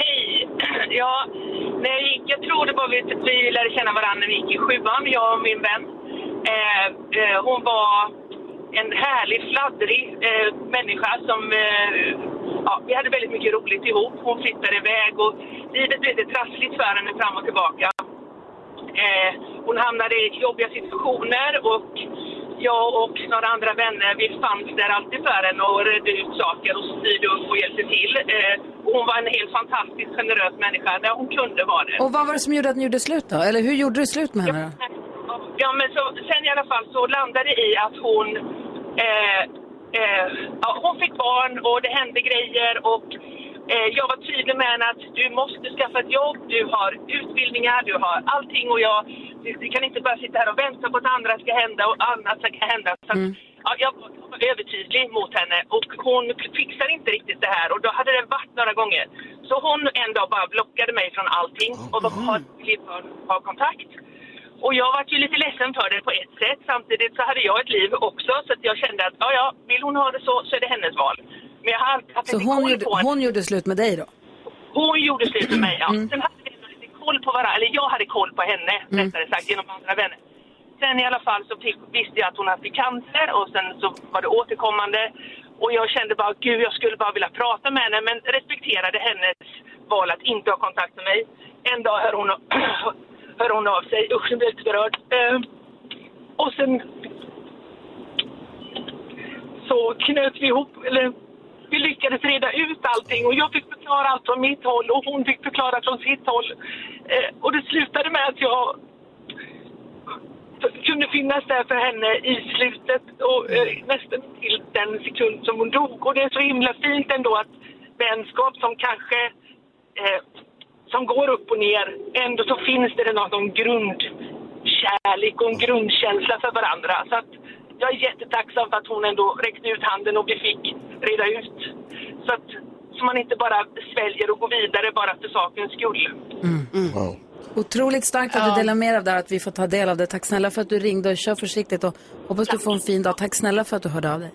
Speaker 19: Hej! Ja, när jag gick, jag tror det var vi, vi lärde känna varandra när vi gick i sjuan, jag och min vän. Eh, eh, hon var en härlig, fladdrig eh, människa som... Eh, ja, vi hade väldigt mycket roligt ihop. Hon flyttade iväg och livet blev lite trassligt för henne fram och tillbaka. Eh, hon hamnade i jobbiga situationer och jag och några andra vänner, vi fanns där alltid för henne och redde ut saker och styrde upp och hjälpte till. Eh, och hon var en helt fantastisk generös människa när hon kunde vara det.
Speaker 1: Och vad var det som gjorde att ni gjorde slut då? Eller hur gjorde du slut med henne då?
Speaker 19: Ja, men så, sen i alla fall så landade det i att hon... Eh, eh, ja, hon fick barn och det hände grejer och eh, jag var tydlig med henne att du måste skaffa ett jobb, du har utbildningar, du har allting och jag... Vi, vi kan inte bara sitta här och vänta på att andra ska hända och annat ska hända. Så att,
Speaker 1: Mm.
Speaker 19: ja, jag var övertydlig mot henne och hon fixar inte riktigt det här och då hade det varit några gånger. Så hon en dag bara blockade mig från allting och var har- har kontakt. Och jag var ju lite ledsen för det på ett sätt. Samtidigt så hade jag ett liv också så att jag kände att ja, ja, vill hon ha det så så är det hennes val. Men jag har alltid haft
Speaker 1: Så
Speaker 19: lite
Speaker 1: hon
Speaker 19: koll
Speaker 1: gjorde,
Speaker 19: på henne.
Speaker 1: hon gjorde slut med dig då?
Speaker 19: Hon gjorde slut med mig, ja. Sen hade vi ändå lite koll på varandra, eller jag hade koll på henne rättare sagt genom andra vänner. Sen i alla fall så fick, visste jag att hon hade cancer och sen så var det återkommande. Och jag kände bara, gud jag skulle bara vilja prata med henne men respekterade hennes val att inte ha kontakt med mig. En dag hör hon, hör hon av sig, usch jag blev lite berörd. Eh, och sen så knöt vi ihop, eller vi lyckades reda ut allting och jag fick förklara allt från mitt håll och hon fick förklara från sitt håll. Eh, och det slutade med att jag f- kunde finnas där för henne i slutet och eh, nästan till den sekund som hon dog. Och det är så himla fint ändå att vänskap som kanske eh, som går upp och ner, ändå så finns det någon sån grundkärlek och en grundkänsla för varandra. Så att jag är jättetacksam för att hon ändå räckte ut handen och vi fick reda ut. Så att så man inte bara sväljer och går vidare bara för sakens skull.
Speaker 5: Wow.
Speaker 1: Otroligt starkt att du delar med dig av det här, att vi får ta del av det. Tack snälla för att du ringde och kör försiktigt och hoppas du får en fin dag. Tack snälla för att du hörde av dig.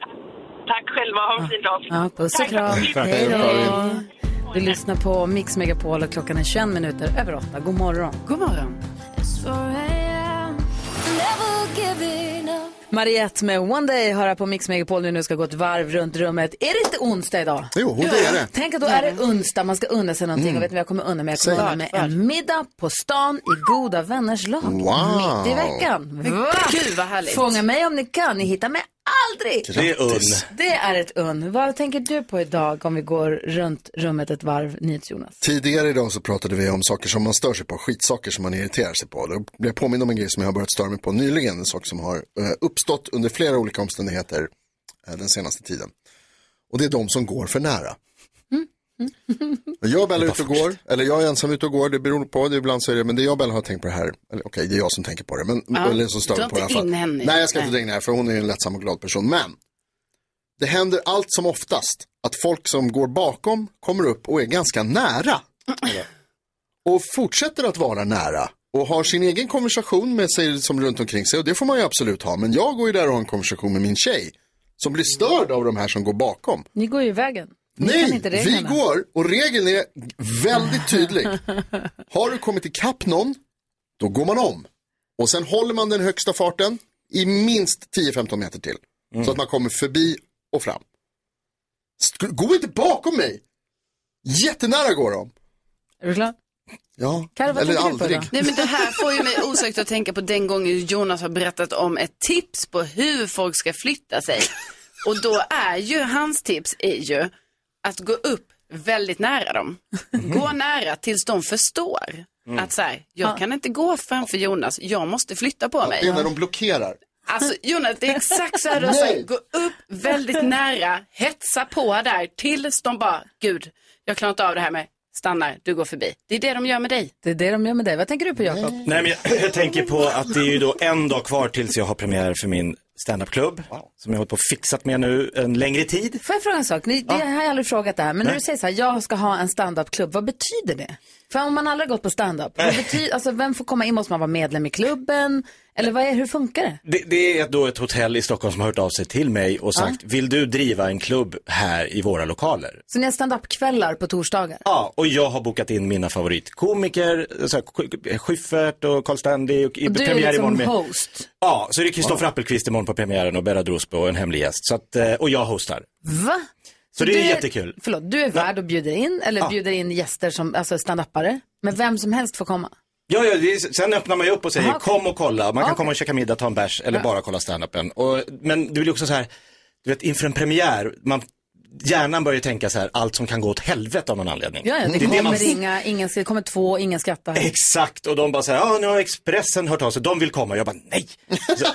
Speaker 19: Tack själva, ha en fin dag.
Speaker 1: Ja, puss och kram.
Speaker 19: Tack.
Speaker 1: Hej då.
Speaker 19: Karin.
Speaker 1: Du lyssnar på Mix Megapol och klockan är 21 minuter över 8. God morgon. God morgon.
Speaker 20: It's 4 a.m. Never giving up.
Speaker 1: Mariette med One Day hör här på Mix Megapol när vi nu ska gå ett varv runt rummet. Är det inte onsdag idag?
Speaker 5: Jo, det är det.
Speaker 1: Tänk att då är det
Speaker 4: Mm.
Speaker 1: onsdag, man ska unna sig någonting.
Speaker 5: Mm.
Speaker 1: Och vet ni vad jag kommer unna mig? Jag kommer
Speaker 5: Säg.
Speaker 1: unna mig en middag på stan i goda vänners lag.
Speaker 5: Wow.
Speaker 1: Mitt i veckan.
Speaker 4: Men
Speaker 1: Va?
Speaker 4: gud, vad härligt.
Speaker 1: Fånga mig om ni kan, ni hittar mig aldrig.
Speaker 3: Det är unn.
Speaker 1: Det är ett unn. Vad tänker du på idag om vi går runt rummet ett varv, NyhetsJonas?
Speaker 5: Tidigare idag så pratade vi om saker som man stör sig på, skitsaker som man irriterar sig på. Då blev jag påmind om en grej som jag har börjat störa mig på nyligen, en sak som har eh, uppstått under flera olika omständigheter eh, den senaste tiden. Och det är de som går för nära.
Speaker 4: Mm.
Speaker 5: Jag och Bella är ute och går, eller jag är ensam ute och går, det beror på, det är ibland så är det, men det jag och Bella har tänkt på det här, eller okej, det är jag som tänker på det, men
Speaker 4: Ja.
Speaker 5: eller som stör
Speaker 4: Dra
Speaker 5: mig på det i alla
Speaker 4: inte
Speaker 5: fall.
Speaker 4: in henne i
Speaker 5: Nej,
Speaker 4: det.
Speaker 5: jag ska inte dra in henne, för hon är ju en lättsam och glad person, men det händer allt som oftast att folk som går bakom kommer upp och är ganska nära. Och fortsätter att vara nära och har sin egen konversation med sig som runt omkring sig och det får man ju absolut ha, men jag går ju där och har en konversation med min tjej som blir störd av de här som går bakom.
Speaker 1: Ni går ju i vägen. Ni kan
Speaker 5: Nej,
Speaker 1: inte
Speaker 5: vi
Speaker 1: reglerna.
Speaker 5: går och regeln är väldigt tydlig. Har du kommit ikapp någon, då går man om. Och sen håller man den högsta farten i minst 10-15 meter till. Så att man kommer förbi och fram. Sk- Gå inte bakom mig! Jättenära går de.
Speaker 1: Är du klar?
Speaker 5: Ja,
Speaker 4: Karo, vad
Speaker 5: eller
Speaker 4: tänker du på
Speaker 5: aldrig.
Speaker 4: idag? Nej, men det här får ju mig osökt att tänka på den gången Jonas har berättat om ett tips på hur folk ska flytta sig. Och då är ju hans tips är ju att gå upp väldigt nära dem. Gå nära tills de förstår
Speaker 5: Mm.
Speaker 4: att så här, jag kan inte gå framför Jonas, jag måste flytta på mig.
Speaker 5: Det är när de blockerar.
Speaker 4: Alltså Jonas, det är exakt så här du har
Speaker 5: Nej.
Speaker 4: sagt. Gå upp väldigt nära, hetsa på där tills de bara, gud, jag klarar inte av det här med stannar, du går förbi. Det är det de gör med dig.
Speaker 1: Det är det de gör med dig. Vad tänker du på Jakob?
Speaker 3: Nej, men jag, jag tänker på att det är ju då en dag kvar tills jag har premiär för min standupklubb. Som jag har hållit på och fixat med nu en längre tid.
Speaker 1: Får jag fråga en sak? Ni, det, här har jag aldrig frågat det här, men när
Speaker 3: Nej.
Speaker 1: du säger så här, jag ska ha en standupklubb, vad betyder det? För om man aldrig har gått på standup, vad betyder, alltså, vem får komma in? Måste man vara medlem i klubben? Eller vad är, hur funkar det?
Speaker 3: Det, det är då ett hotell i Stockholm som har hört av sig till mig och sagt, vill du driva en klubb här i våra lokaler?
Speaker 1: Så ni har standupkvällar på torsdagar?
Speaker 3: Ja, och jag har bokat in mina favoritkomiker, så här, Sch- Schyffert och Carl Stanley. Och,
Speaker 1: Och du är liksom host?
Speaker 3: Ja, så det är Kristoffer Appelqvist imorgon på premiären och Berra Drosby och en hemlig gäst. Så att, eh, och jag hostar.
Speaker 1: Va?
Speaker 3: Så det är
Speaker 1: du
Speaker 3: jättekul.
Speaker 1: Förlåt, du är värd och bjuder in, eller bjuder in gäster som, alltså standupare. Men vem som helst får komma.
Speaker 3: Ja, ja det är, sen öppnar man ju upp och säger kom och kolla. Man kan
Speaker 1: Aha,
Speaker 3: komma och käka middag, ta en bärs eller
Speaker 1: Ja.
Speaker 3: bara kolla standupen. Och- Men det blir också så här, du vet inför en premiär, man, hjärnan börjar tänka så här, allt som kan gå åt helvete av någon anledning.
Speaker 1: Ja, ja, det,
Speaker 3: är
Speaker 1: kommer
Speaker 3: man-
Speaker 1: inga, ingen, det kommer två, ingen skrattar.
Speaker 3: Exakt, och de bara så här, ja nu har Expressen hört av sig, de vill komma. Jag bara nej, så,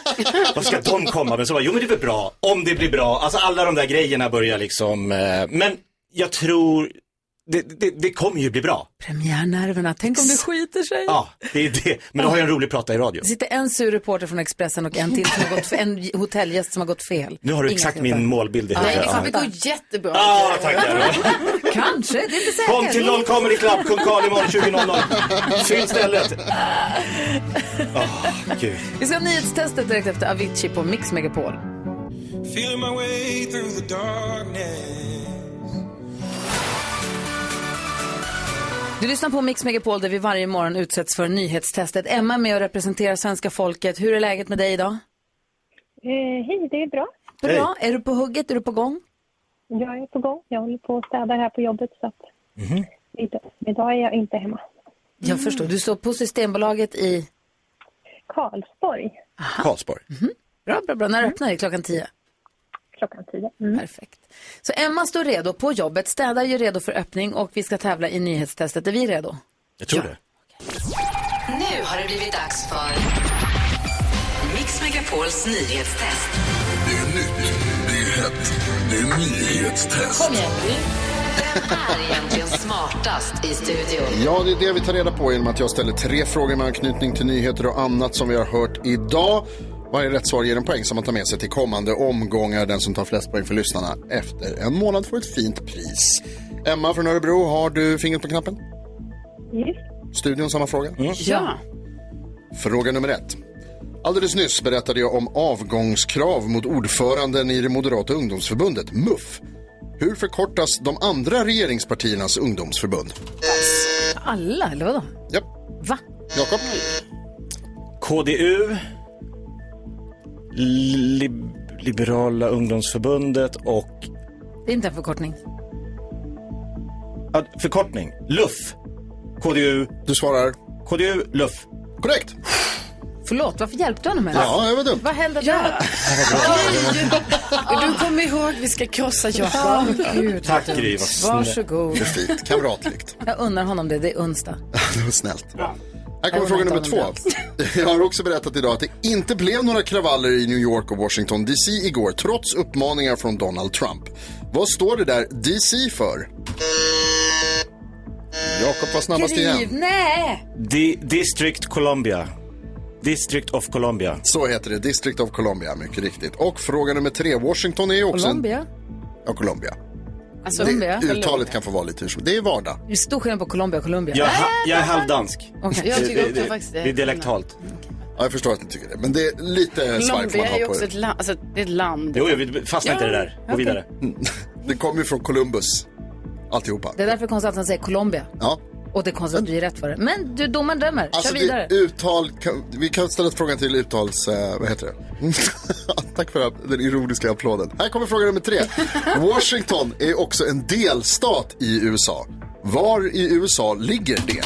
Speaker 3: varför ska de komma? Men så bara, jo men det blir bra, om det blir bra. Alltså alla de där grejerna börjar liksom, eh, men jag tror, det, det, det kommer ju bli bra.
Speaker 1: Premiärnerverna, tänk om det skiter sig.
Speaker 3: Ja, det är det. Men då har jag en rolig prata i radio.
Speaker 1: Det sitter en sur reporter från Expressen och en till som har gått fe- en hotellgäst som har gått fel.
Speaker 3: Nu har du
Speaker 1: Inga
Speaker 3: exakt
Speaker 1: skrattar.
Speaker 3: min målbild i
Speaker 4: Nej,
Speaker 3: huvudet.
Speaker 4: det kommer
Speaker 3: Ja.
Speaker 4: gå jättebra.
Speaker 3: Ja, tackar.
Speaker 1: Kanske, det är inte säkert.
Speaker 3: Kom till någon Comedy Club, Kung Karl imorgon 20.00. Fyll stället.
Speaker 5: Ah,
Speaker 3: Åh, gud.
Speaker 1: Vi ska ha nyhetstestet direkt efter Avicii på Mix Megapol.
Speaker 13: Feeling my way through the darkness.
Speaker 1: Du lyssnar på Mix Megapol där vi varje morgon utsätts för nyhetstestet. Emma är med och representerar svenska folket. Hur är läget med dig idag?
Speaker 20: Eh, hej, det är bra.
Speaker 1: Bra, är du på hugget? Är du på gång?
Speaker 20: Jag är på gång. Jag håller på och städar här på jobbet. Så att
Speaker 3: Mhm.
Speaker 20: idag, idag är jag inte hemma.
Speaker 1: Jag förstår. Du står på Systembolaget i
Speaker 20: Karlsborg,
Speaker 3: Karlsborg.
Speaker 4: Mm.
Speaker 1: Bra, bra, bra. När öppnar det? Klockan tio?
Speaker 20: klockan tio.
Speaker 4: Mm.
Speaker 1: Perfekt. Så Emma står redo på jobbet, städar ju redo för öppning och vi ska tävla i nyhetstestet. Är vi redo?
Speaker 3: Jag tror det.
Speaker 2: Nu har det blivit dags för Mix Megapols nyhetstest.
Speaker 21: Det är nytt, det är hett, det är nyhetstest.
Speaker 2: Kom igen nu. Vem är egentligen smartast i studion?
Speaker 5: Ja, det är det vi tar reda på genom att jag ställer tre frågor med anknytning till nyheter och annat som vi har hört idag. Varje rätt svar ger en poäng som man tar med sig till kommande omgångar. Den som tar flest poäng för lyssnarna efter en månad får ett fint pris. Emma från Örebro, har du fingret på knappen?
Speaker 20: Yes.
Speaker 5: Studion samma fråga?
Speaker 4: Ja.
Speaker 5: Fråga nummer ett. Alldeles nyss berättade jag om avgångskrav mot ordföranden i det moderata ungdomsförbundet, MUF. Hur förkortas de andra regeringspartiernas ungdomsförbund?
Speaker 1: Alla, eller vadå?
Speaker 5: Japp.
Speaker 1: Va?
Speaker 5: Jakob?
Speaker 3: KDU, Lib Liberala ungdomsförbundet och
Speaker 1: Det är inte en förkortning.
Speaker 3: ja, förkortning, LUF. KDU.
Speaker 5: Du svarar?
Speaker 3: KDU, LUF.
Speaker 5: Korrekt.
Speaker 1: Förlåt, varför hjälpte du honom ens?
Speaker 5: Ja, jag var dum.
Speaker 1: Vad hände där?
Speaker 4: Du kommer ihåg, vi ska krossa
Speaker 1: Ja,
Speaker 4: Japan.
Speaker 1: gud.
Speaker 5: Tack, Gry, vad snäll.
Speaker 1: Varsågod.
Speaker 5: Det är fint. Kamratligt.
Speaker 1: Jag unnar honom det, det är onsdag.
Speaker 5: Det var snällt. Här
Speaker 1: Jag
Speaker 5: kommer fråga
Speaker 1: undrar
Speaker 5: nummer
Speaker 1: inte
Speaker 5: två.
Speaker 1: om
Speaker 5: Jag har också berättat idag att det inte blev några kravaller i New York och Washington DC igår trots uppmaningar från Donald Trump. Vad står det där DC för? Jakob var snabbast
Speaker 1: Gry,
Speaker 5: igen.
Speaker 1: nej!
Speaker 3: Di District Columbia. District of Columbia.
Speaker 5: Så heter det, District of Columbia, mycket riktigt. Och fråga nummer tre, Washington är ju också en...
Speaker 1: Colombia?
Speaker 5: Ja, Colombia.
Speaker 1: Alltså,
Speaker 5: det,
Speaker 1: Colombia?
Speaker 5: uttalet kan få vara lite hur som Det är vardag.
Speaker 1: Det är stor skillnad på Colombia och Colombia.
Speaker 5: Jag är
Speaker 4: Äh,
Speaker 5: ha- jag är halvdansk.
Speaker 1: Okej.
Speaker 4: Jag tycker
Speaker 5: Det-
Speaker 4: också faktiskt det. Mm,
Speaker 5: det är dialektalt. Ja, jag förstår att ni tycker det, men det är lite svaj får man
Speaker 4: Colombia är
Speaker 5: ha
Speaker 4: ju
Speaker 5: på
Speaker 4: också
Speaker 5: det.
Speaker 4: ett land. Alltså, det är ett land.
Speaker 1: okej.
Speaker 5: Mm. Det kommer ju från Columbus, alltihopa.
Speaker 1: Det är därför det är konstigt att han säger Colombia.
Speaker 5: Ja.
Speaker 1: Och det är konstigt att du är rätt för det. Men du, domaren dömer. Kör
Speaker 5: Alltså,
Speaker 1: vidare.
Speaker 5: Det, uttal, kan, vi kan ställa frågan till uttals... Eh, vad heter det? Tack för den ironiska applåden. Här kommer fråga nummer tre. Washington är också en delstat i USA. Var i USA ligger det?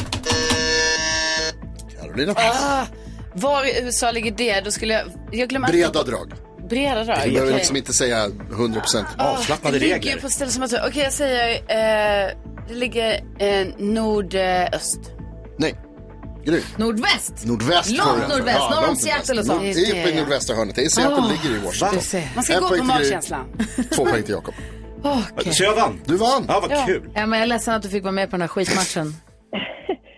Speaker 5: Carolina.
Speaker 4: Ah, var i USA ligger det? Då skulle jag... jag glömmer alltid-
Speaker 5: Breda drag.
Speaker 4: Breda
Speaker 5: Vi
Speaker 4: drag.
Speaker 5: behöver
Speaker 4: alltså- okej.
Speaker 5: liksom inte säga 100 procent
Speaker 4: Ah, det ligger ju på ställen som att... Okej, jag säger... Eh, det ligger eh, nordöst.
Speaker 5: Nej. Gry.
Speaker 1: Nordväst.
Speaker 5: Nordväst.
Speaker 4: Långt
Speaker 5: tror jag.
Speaker 4: nordväst,
Speaker 5: Ja,
Speaker 4: norr om
Speaker 5: långt
Speaker 4: Seattle
Speaker 5: nordväst.
Speaker 4: och så.
Speaker 5: Nord- I på nordvästra hörnet. Det är Seattle
Speaker 4: Ah,
Speaker 5: ligger i
Speaker 4: du
Speaker 5: Washington.
Speaker 4: ser. Man ska
Speaker 5: En
Speaker 4: gå
Speaker 5: poäng
Speaker 4: på
Speaker 5: till Gry.
Speaker 4: magkänslan.
Speaker 5: Två poäng till Jakob.
Speaker 1: Åh,
Speaker 5: Så jag vann? Du vann. Ja,
Speaker 1: Ja. Ja, men jag är ledsen att du fick vara med på den här skitmatchen.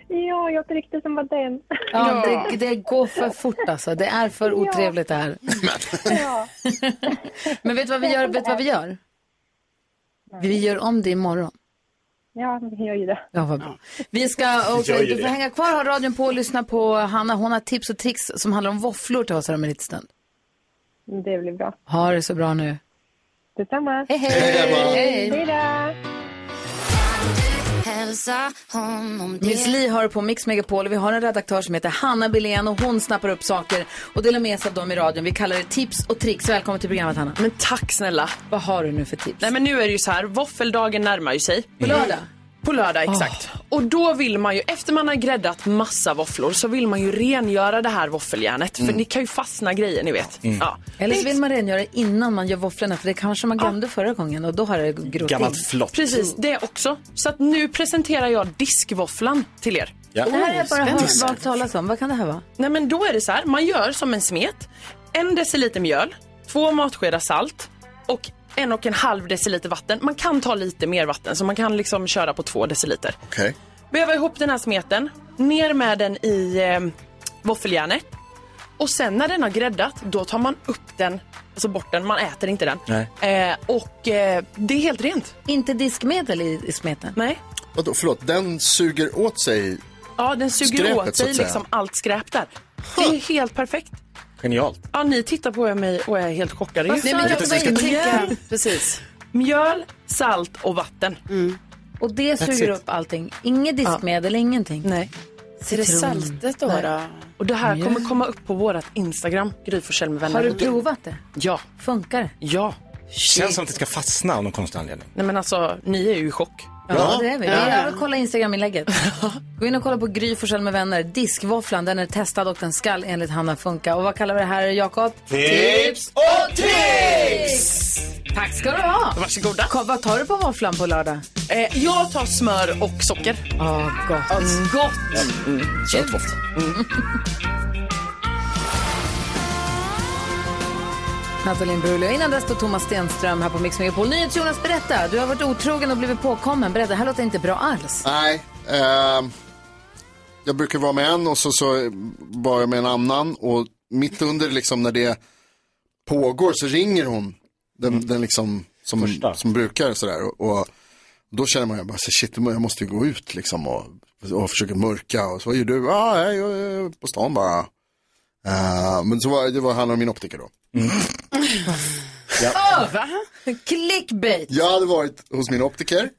Speaker 20: Ja, jag tyckte som var den.
Speaker 1: Ja, det, det går för fort alltså. Det är för otrevligt det här. Men vet du vad vi gör? Vet du vad vi gör? Vi gör om det imorgon.
Speaker 20: Ja, vi gör ju det.
Speaker 1: Ja, vad bra. Vi ska, och,
Speaker 20: Jag gör
Speaker 1: du får
Speaker 20: det.
Speaker 1: hänga kvar, ha radion på och lyssna på Hanna. Hon har tips och tricks som handlar om våfflor till oss här om en liten stund.
Speaker 20: Det blir bra.
Speaker 1: Ha det så bra nu.
Speaker 20: Detsamma.
Speaker 1: Hej, hej.
Speaker 20: Hej då.
Speaker 1: Miss Li har på Mix Megapol och vi har en redaktör som heter Hanna Billén och hon snappar upp saker och delar med sig av dem i radion. Vi kallar det tips och tricks. Välkommen till programmet Hanna.
Speaker 8: Men tack snälla.
Speaker 1: Vad har du nu för tips?
Speaker 8: Nej men nu är det ju så här, våffeldagen närmar ju sig.
Speaker 1: På lördag?
Speaker 8: På lördag, exakt. Och då vill man ju, efter man har gräddat massa våfflor så vill man ju rengöra det här våffeljärnet. För
Speaker 1: Mm.
Speaker 8: det kan ju fastna grejer ni vet. Ja.
Speaker 1: Eller så vill man rengöra det innan man gör våfflorna för det kanske man glömde förra gången och då har det grott in.
Speaker 8: Precis, det också. Så att nu presenterar jag diskvåfflan till er.
Speaker 1: Det här har jag bara hört vagt talas om. Vad kan det här vara?
Speaker 8: Nej men då är det så här, man gör som en smet. En deciliter mjöl, två matskedar salt och en och en halv deciliter vatten. Man kan ta lite mer vatten så man kan liksom köra på två deciliter.
Speaker 5: Okej.
Speaker 8: Väva ihop den här smeten, ner med den i eh, våffeljärnet. Och sen när den har gräddat, då tar man upp den, alltså bort den, man äter inte den.
Speaker 3: Nej.
Speaker 8: Eh, och eh, det är helt rent.
Speaker 1: Inte diskmedel i, i smeten?
Speaker 8: Nej.
Speaker 5: Vadå, förlåt, den suger åt sig.
Speaker 8: Ja, den suger
Speaker 5: Skräpet,
Speaker 8: åt
Speaker 5: så att
Speaker 8: sig
Speaker 5: säga.
Speaker 8: liksom allt skräp där. Det är helt perfekt.
Speaker 3: Genialt.
Speaker 8: Ja, ni tittar på mig och jag är helt chockad.
Speaker 4: Vad sa du? Mjöl,
Speaker 8: precis. Mjöl, salt och vatten.
Speaker 1: Och det
Speaker 8: That's
Speaker 1: suger
Speaker 8: it.
Speaker 1: upp allting. Inget diskmedel, ingenting.
Speaker 8: Nej. Är det saltet då, då? Och det här kommer komma upp på vårt Instagram, Gry Forssell med vänner.
Speaker 1: Har du provat det?
Speaker 8: Ja.
Speaker 1: Funkar det?
Speaker 8: Ja.
Speaker 3: Känns som att det ska fastna av någon konstig anledning.
Speaker 8: Nej men alltså, ni är ju i chock.
Speaker 1: Ja, det är vi. Vi har kolla Instagram-inlägget. Gå in och kolla på Gry Forssell med vänner. Diskvåfflan, den är testad och den skall enligt Hanna funka. Och vad kallar vi det här, Jakob?
Speaker 3: Tips
Speaker 1: och tricks! Tack ska du ha.
Speaker 8: Varsågoda.
Speaker 1: Kom, vad tar du på våfflan på lördag?
Speaker 8: Eh, jag tar smör och socker.
Speaker 1: Ja, gott.
Speaker 8: Mm. Gott!
Speaker 5: Kött våffla.
Speaker 1: Nathalie Brulio. Innan dess står Thomas Stenström här på Mix Megapol. Jonas, berätta. Du har varit otrogen och blivit påkommen. Berätta, det här låter inte bra alls.
Speaker 5: Nej. ehm, jag brukar vara med en och så, så var jag med en annan och mitt under liksom när det pågår så ringer hon. Den, den liksom som, som brukar sådär. Och, och då känner man ju bara så shit, jag måste ju gå ut liksom och, och försöka mörka. Och så vad gör du? Ja, ah, jag jag är på Ehm, stan bara. Eh, men så var det var, handlade om min optiker då. Ja.
Speaker 1: Va? Clickbait.
Speaker 5: Jag hade varit hos min optiker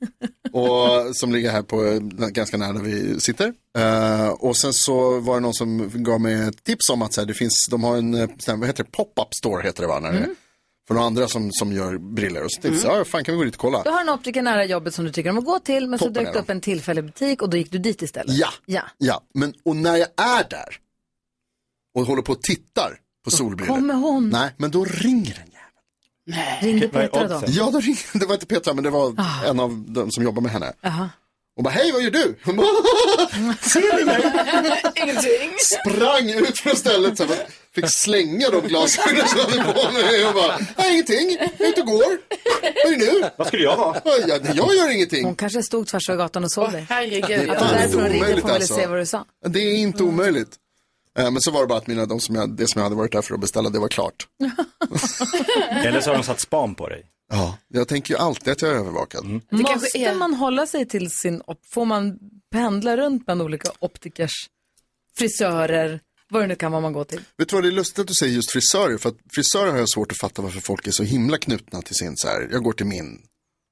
Speaker 5: och, som ligger här på, eh, ganska nära där vi sitter. Eh, och sen så var det någon som gav mig ett tips om att så här, det finns, de har en eh, sån här, vad heter det, pop-up store heter det va? När det,
Speaker 1: Mm.
Speaker 5: För några andra som, som gör briller och så tänkte jag,
Speaker 1: Mm.
Speaker 5: ja fan kan vi gå dit och kolla?
Speaker 1: Du har en optiker nära jobbet som du tycker om att gå till, men så
Speaker 5: Toppen
Speaker 1: dök
Speaker 5: är
Speaker 1: det
Speaker 5: de.
Speaker 1: upp en tillfällig butik och då gick du dit istället.
Speaker 5: Ja.
Speaker 1: Ja.
Speaker 5: Ja, men och när jag är där och håller på och tittar på solbrillor.
Speaker 1: Kommer hon?
Speaker 5: Nej, men då ringer den.
Speaker 1: Ringde Petra då? Ah.
Speaker 5: Ja, då ringde, det var inte Petra, men det var en av de som jobbar med henne.
Speaker 1: Jaha.
Speaker 5: Och bara, hej vad gör du? Hon bara, Ser ni mig?
Speaker 1: Ingenting.
Speaker 5: Sprang ut från stället, så här, bara, fick slänga de glasögonen som jag hade på mig och bara, nej ingenting, jag är ute och går. Vad är det nu? Vad skulle jag vara? Jag, jag gör ingenting.
Speaker 1: Hon kanske stod tvärs över gatan och såg dig.
Speaker 5: Det är
Speaker 1: Herregud.
Speaker 5: fan inte
Speaker 1: Därför hon ringde
Speaker 5: omöjligt,
Speaker 1: för att
Speaker 5: alltså.
Speaker 1: se vad du sa.
Speaker 5: Det är inte omöjligt. Eh, Men så var det bara att mina, de som jag, det som jag hade varit där för att beställa, det var klart.
Speaker 3: Eller så har de satt span på dig.
Speaker 5: Ja, jag tänker ju alltid att jag är övervakad.
Speaker 1: Måste man hålla sig till sin op- Får man pendla runt bland olika optikers, frisörer, vad det nu kan vara man går till?
Speaker 5: Vet du vad, det är lustigt att du säger just frisörer, för att frisörer har jag svårt att fatta varför folk är så himla knutna till sin, så här, jag går till min,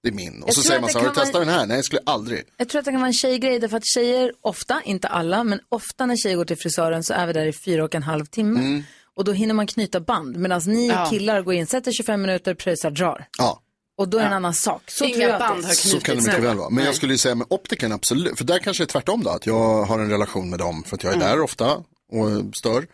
Speaker 5: det är min. Och
Speaker 1: Jag
Speaker 5: så
Speaker 1: tror
Speaker 5: säger
Speaker 1: att
Speaker 5: man
Speaker 1: det
Speaker 5: så här, har du
Speaker 1: kan
Speaker 5: testat
Speaker 1: vara-
Speaker 5: den här? Nej, jag skulle aldrig.
Speaker 1: Jag tror att det kan vara en tjejgrej därför att tjejer ofta, inte alla, men ofta när tjejer går till frisören så är vi där i fyra och en halv timme.
Speaker 5: Mm.
Speaker 1: Och då hinner man knyta band medan ni
Speaker 4: Ja.
Speaker 1: killar går in, sätter 25 minuter, pröjsar, drar.
Speaker 5: Ja.
Speaker 1: Och då är det en annan sak. Så
Speaker 4: Inga
Speaker 1: tror jag att
Speaker 4: band
Speaker 1: det är.
Speaker 4: har
Speaker 5: Så kan det mycket väl vara. Men jag skulle ju säga med optiken absolut, för där kanske det är tvärtom då, att jag har en relation med dem för att jag är
Speaker 1: Mm.
Speaker 5: där ofta och stör.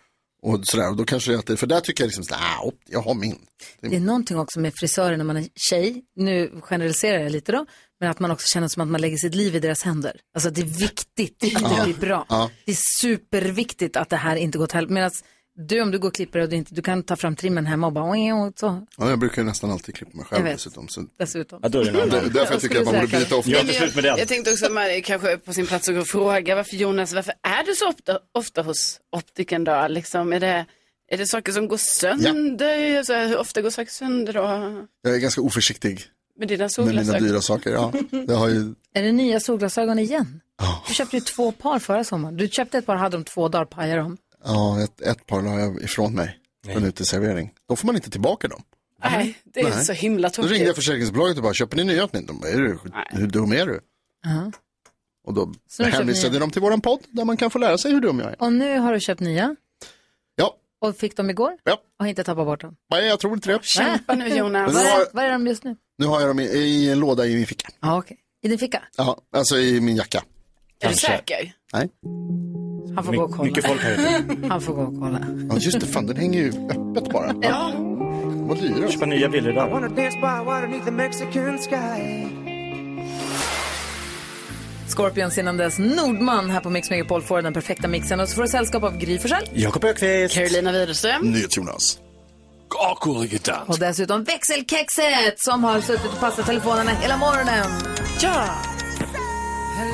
Speaker 5: Och sådär, och då kanske det är att det, för där tycker jag liksom, sådär, ah, opt- jag har min.
Speaker 1: Det är någonting också med frisörer när man är tjej, nu generaliserar jag lite då, men att man också känner som att man lägger sitt liv i deras händer. Alltså att det är viktigt att det
Speaker 5: Ja.
Speaker 1: blir bra.
Speaker 5: Ja.
Speaker 1: Det är superviktigt att det här inte går till helvete. Medan du om du går och klipper och du, inte, du kan ta fram trimmen hemma och bara "Oj, oj, så.
Speaker 5: Ja, jag brukar ju nästan alltid klippa mig själv
Speaker 1: Jag vet.
Speaker 5: dessutom. Så...
Speaker 1: Dessutom.
Speaker 5: Ja, då är det en annan. Det- därför jag tycker att man borde byta ofta. Gör inte slut med den.
Speaker 4: Jag tänkte också att man är kanske på sin plats och fråga varför Jonas, varför är du så ofta, ofta hos optiken då? Liksom, är, det, är det saker som går sönder? Alltså, hur ofta går saker sönder då?
Speaker 5: Jag är ganska oförsiktig
Speaker 4: Med dina
Speaker 5: med mina
Speaker 4: solglasögon?
Speaker 5: dyra saker. Ja, jag har ju
Speaker 1: Är det nya solglasögon igen? Du köpte ju två par förra sommaren. Du köpte ett par, hade de två dagar, pajade dem.
Speaker 5: Ja, ett, ett par la jag ifrån mig på en uteservering. Då får man inte tillbaka dem.
Speaker 4: Nej, det är
Speaker 5: Nej.
Speaker 4: så himla
Speaker 5: Då ringde jag
Speaker 4: tokigt.
Speaker 5: försäkringsbolaget och bara, köper ni nya åt mig? De bara, är du, hur dum är du?
Speaker 1: Ja.
Speaker 5: Och då
Speaker 1: Så nu köper
Speaker 5: hänvisade
Speaker 1: ni-
Speaker 5: de till våran podd där man kan få lära sig hur dum jag är.
Speaker 1: Och nu har du köpt nya.
Speaker 5: Ja.
Speaker 1: Och fick dem igår?
Speaker 5: Ja.
Speaker 1: Och har inte tappat bort dem?
Speaker 5: Nej, jag tror inte det.
Speaker 4: Kämpa nu Jonas.
Speaker 1: Vad
Speaker 5: Men
Speaker 1: är,
Speaker 5: har-
Speaker 1: vad är de just nu?
Speaker 5: Nu har jag dem i, i en låda i min ficka.
Speaker 1: Ja, okej. I din ficka?
Speaker 5: Ja, alltså i min jacka.
Speaker 4: Är du säker?
Speaker 5: Nej.
Speaker 1: Han får gå och kolla.
Speaker 5: mycket folk här ute.
Speaker 1: Han får gå och kolla.
Speaker 5: Ja, just det, fan den hänger ju öppet bara.
Speaker 1: Ja.
Speaker 5: Vad dyra. Köpa nya brillor
Speaker 3: idag.
Speaker 13: Wanna dance by water 'neath the Mexican sky.
Speaker 1: Scorpions innan dess Nordman här på Mix Megapol får den perfekta mixen och så får du sällskap av Gry Forssell.
Speaker 3: Jakob Öqvist.
Speaker 4: Carolina Widerström.
Speaker 5: NyhetsJonas.
Speaker 6: Och Ulrika Dans.
Speaker 1: Och dessutom växelkexet som har suttit och passat telefonerna hela morgonen. Ja!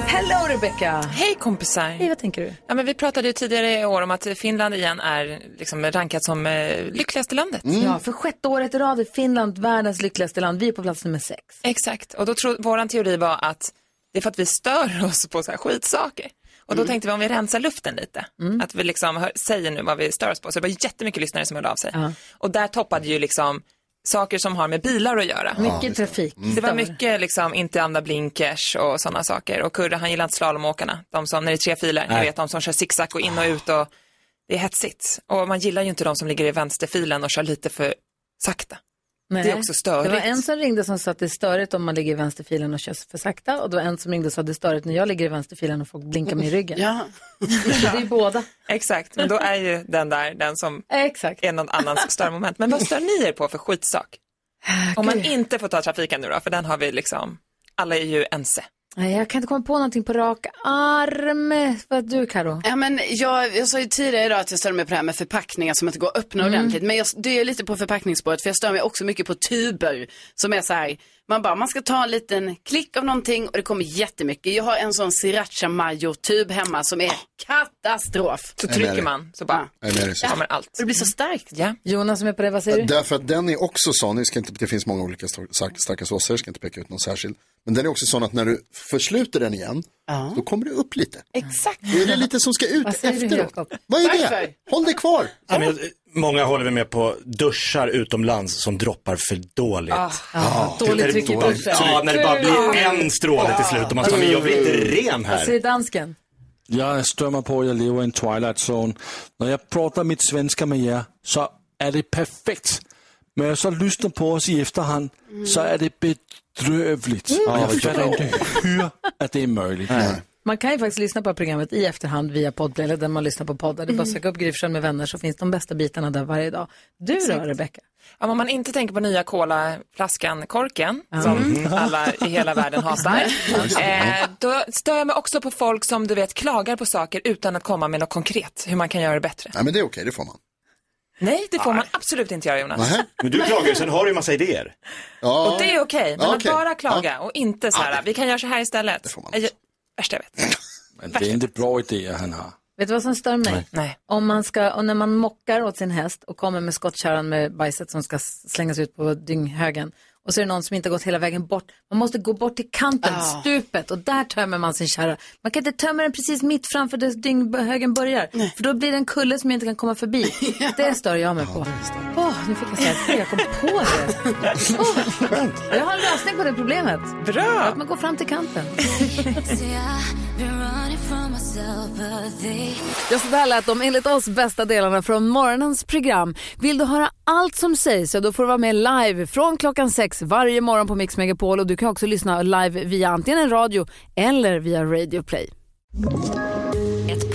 Speaker 1: Hello Rebecca!
Speaker 9: Hej kompisar! Hej,
Speaker 1: vad tänker du?
Speaker 9: Ja, men vi pratade ju tidigare i år om att Finland igen är liksom rankat som eh, lyckligaste landet.
Speaker 1: Ja, för sjätte året i rad är Finland världens lyckligaste land. Vi är på plats nummer sex.
Speaker 9: Exakt, och då tro, våran teori var att det är för att vi stör oss på så här skitsaker. Och då
Speaker 1: Mm.
Speaker 9: tänkte vi om vi rensar luften lite, att vi liksom hör, säger nu vad vi stör oss på. Så det var jättemycket lyssnare som hörde av sig. Och där toppade ju liksom saker som har med bilar att göra.
Speaker 1: Mycket trafik.
Speaker 9: Det var mycket liksom inte använda blinkers och sådana saker. Och Kurre han gillar inte slalomåkarna. De som, när det är tre filer, ni
Speaker 1: Nej.
Speaker 9: vet de som kör zigzag och in och ut och det är hetsigt. Och man gillar ju inte de som ligger i vänsterfilen och kör lite för sakta.
Speaker 1: Nej.
Speaker 9: Det är också störigt.
Speaker 1: Det var en som ringde som sa att det är störigt om man ligger i vänsterfilen och kör för sakta. Och det var en som ringde och sa att det är störigt när jag ligger i vänsterfilen och folk blinkar mig i ryggen.
Speaker 4: Ja.
Speaker 1: Så det är båda.
Speaker 9: Exakt, men då är ju den där den som är någon annans störmoment. Men vad stör ni er på för skitsak? Om man inte får ta trafiken nu då, för den har vi liksom, alla är ju ense.
Speaker 1: Nej, jag kan inte komma på någonting på rak arm. Vad du Karo?
Speaker 4: Ja, men jag, jag sa ju tidigare idag att jag stör mig på det här med förpackningar som inte går att öppna
Speaker 1: Mm.
Speaker 4: ordentligt. Men jag, det är lite på förpackningsspåret för jag stör mig också mycket på tuber som är så här. Man bara, man ska ta en liten klick av någonting och det kommer jättemycket. Jag har en sån sriracha mayo tub hemma som är katastrof.
Speaker 9: Så trycker man, så bara
Speaker 5: Jag är med dig,
Speaker 9: ja.
Speaker 5: syster.
Speaker 9: kommer allt.
Speaker 4: Det blir så starkt.
Speaker 9: Ja.
Speaker 1: Jonas som är på det, vad säger du?
Speaker 5: Därför att den är också sån, nu ska jag inte, det finns många olika stor- stark- starka såser, jag ska inte peka ut någon särskild. Men den är också sån att när du försluter den igen, då kommer det upp lite.
Speaker 4: Exakt.
Speaker 5: Då är det lite som ska ut
Speaker 1: Vad säger du,
Speaker 5: efteråt.
Speaker 1: Jakob?
Speaker 5: Vad är det?
Speaker 1: Varför?
Speaker 5: Håll det kvar.
Speaker 3: Ja, men jag, Många håller vi med på duschar utomlands som droppar för dåligt.
Speaker 1: Ah, ah, dåligt tryck i duschen.
Speaker 3: Ja, när det bara blir en stråle till slut och man står men jag blir inte ren
Speaker 1: Vad
Speaker 3: här.
Speaker 1: säger dansken?
Speaker 6: Jag strömmar på, jag lever i en twilight zone. När jag pratar mitt svenska med er så är det perfekt. Men jag så lyssnar på oss i efterhand så är det bedrövligt. Och
Speaker 3: Ja,
Speaker 6: jag fattar
Speaker 3: förstår.
Speaker 6: inte hur att det är möjligt.
Speaker 1: Man kan ju faktiskt lyssna på programmet i efterhand via podden eller där man lyssnar på poddar. Det är bara att
Speaker 9: Mm.
Speaker 1: söka upp Gryfsjön med vänner så finns de bästa bitarna där varje dag. Du då,
Speaker 9: Exakt.
Speaker 1: Rebecka?
Speaker 9: Ja, men om man inte tänker på nya colaflaskan-korken,
Speaker 1: Ja.
Speaker 9: som
Speaker 1: Mm.
Speaker 9: alla i hela världen hatar,
Speaker 1: Nej.
Speaker 9: eh, då stör jag mig också på folk som du vet klagar på saker utan att komma med något konkret, hur man kan göra det bättre.
Speaker 5: Nej men det är okej, det får man.
Speaker 9: Nej, det får man absolut inte göra Jonas.
Speaker 3: Alltså. Men du klagar ju, sen har du ju massa idéer.
Speaker 9: Och det är okej, men
Speaker 3: Ja,
Speaker 9: att
Speaker 3: okej.
Speaker 9: bara klaga och inte så här, vi kan göra så här istället. Det får man Värsta jag vet.
Speaker 6: Men det är inte bra idéer han har.
Speaker 1: Vet du vad som stör mig?
Speaker 9: Nej.
Speaker 1: Om man ska, och när man mockar åt sin häst och kommer med skottkärran med bajset som ska s- slängas ut på dynghögen. Och så är det någon som inte har gått hela vägen bort. Man måste gå bort till
Speaker 9: Ah.
Speaker 1: kanten,
Speaker 4: Ja.
Speaker 1: stupet och där tömmer man sin kärra. Man kan inte tömma den precis mitt framför där dynghögen börjar. För då blir det en kulle som jag inte kan komma förbi. Det stör jag mig på. Åh, nu fick jag säga det. Jag kom på det. Åh, jag har en lösning på det problemet.
Speaker 9: Bra!
Speaker 1: Att man går fram till kanten. Ja, så där lät de enligt oss bästa delarna från morgonens program. Vill du höra allt som sägs så då får du vara med live från klockan sex varje morgon på Mix Megapol och du kan också lyssna live via antingen en radio eller via Radio Play.
Speaker 2: Ett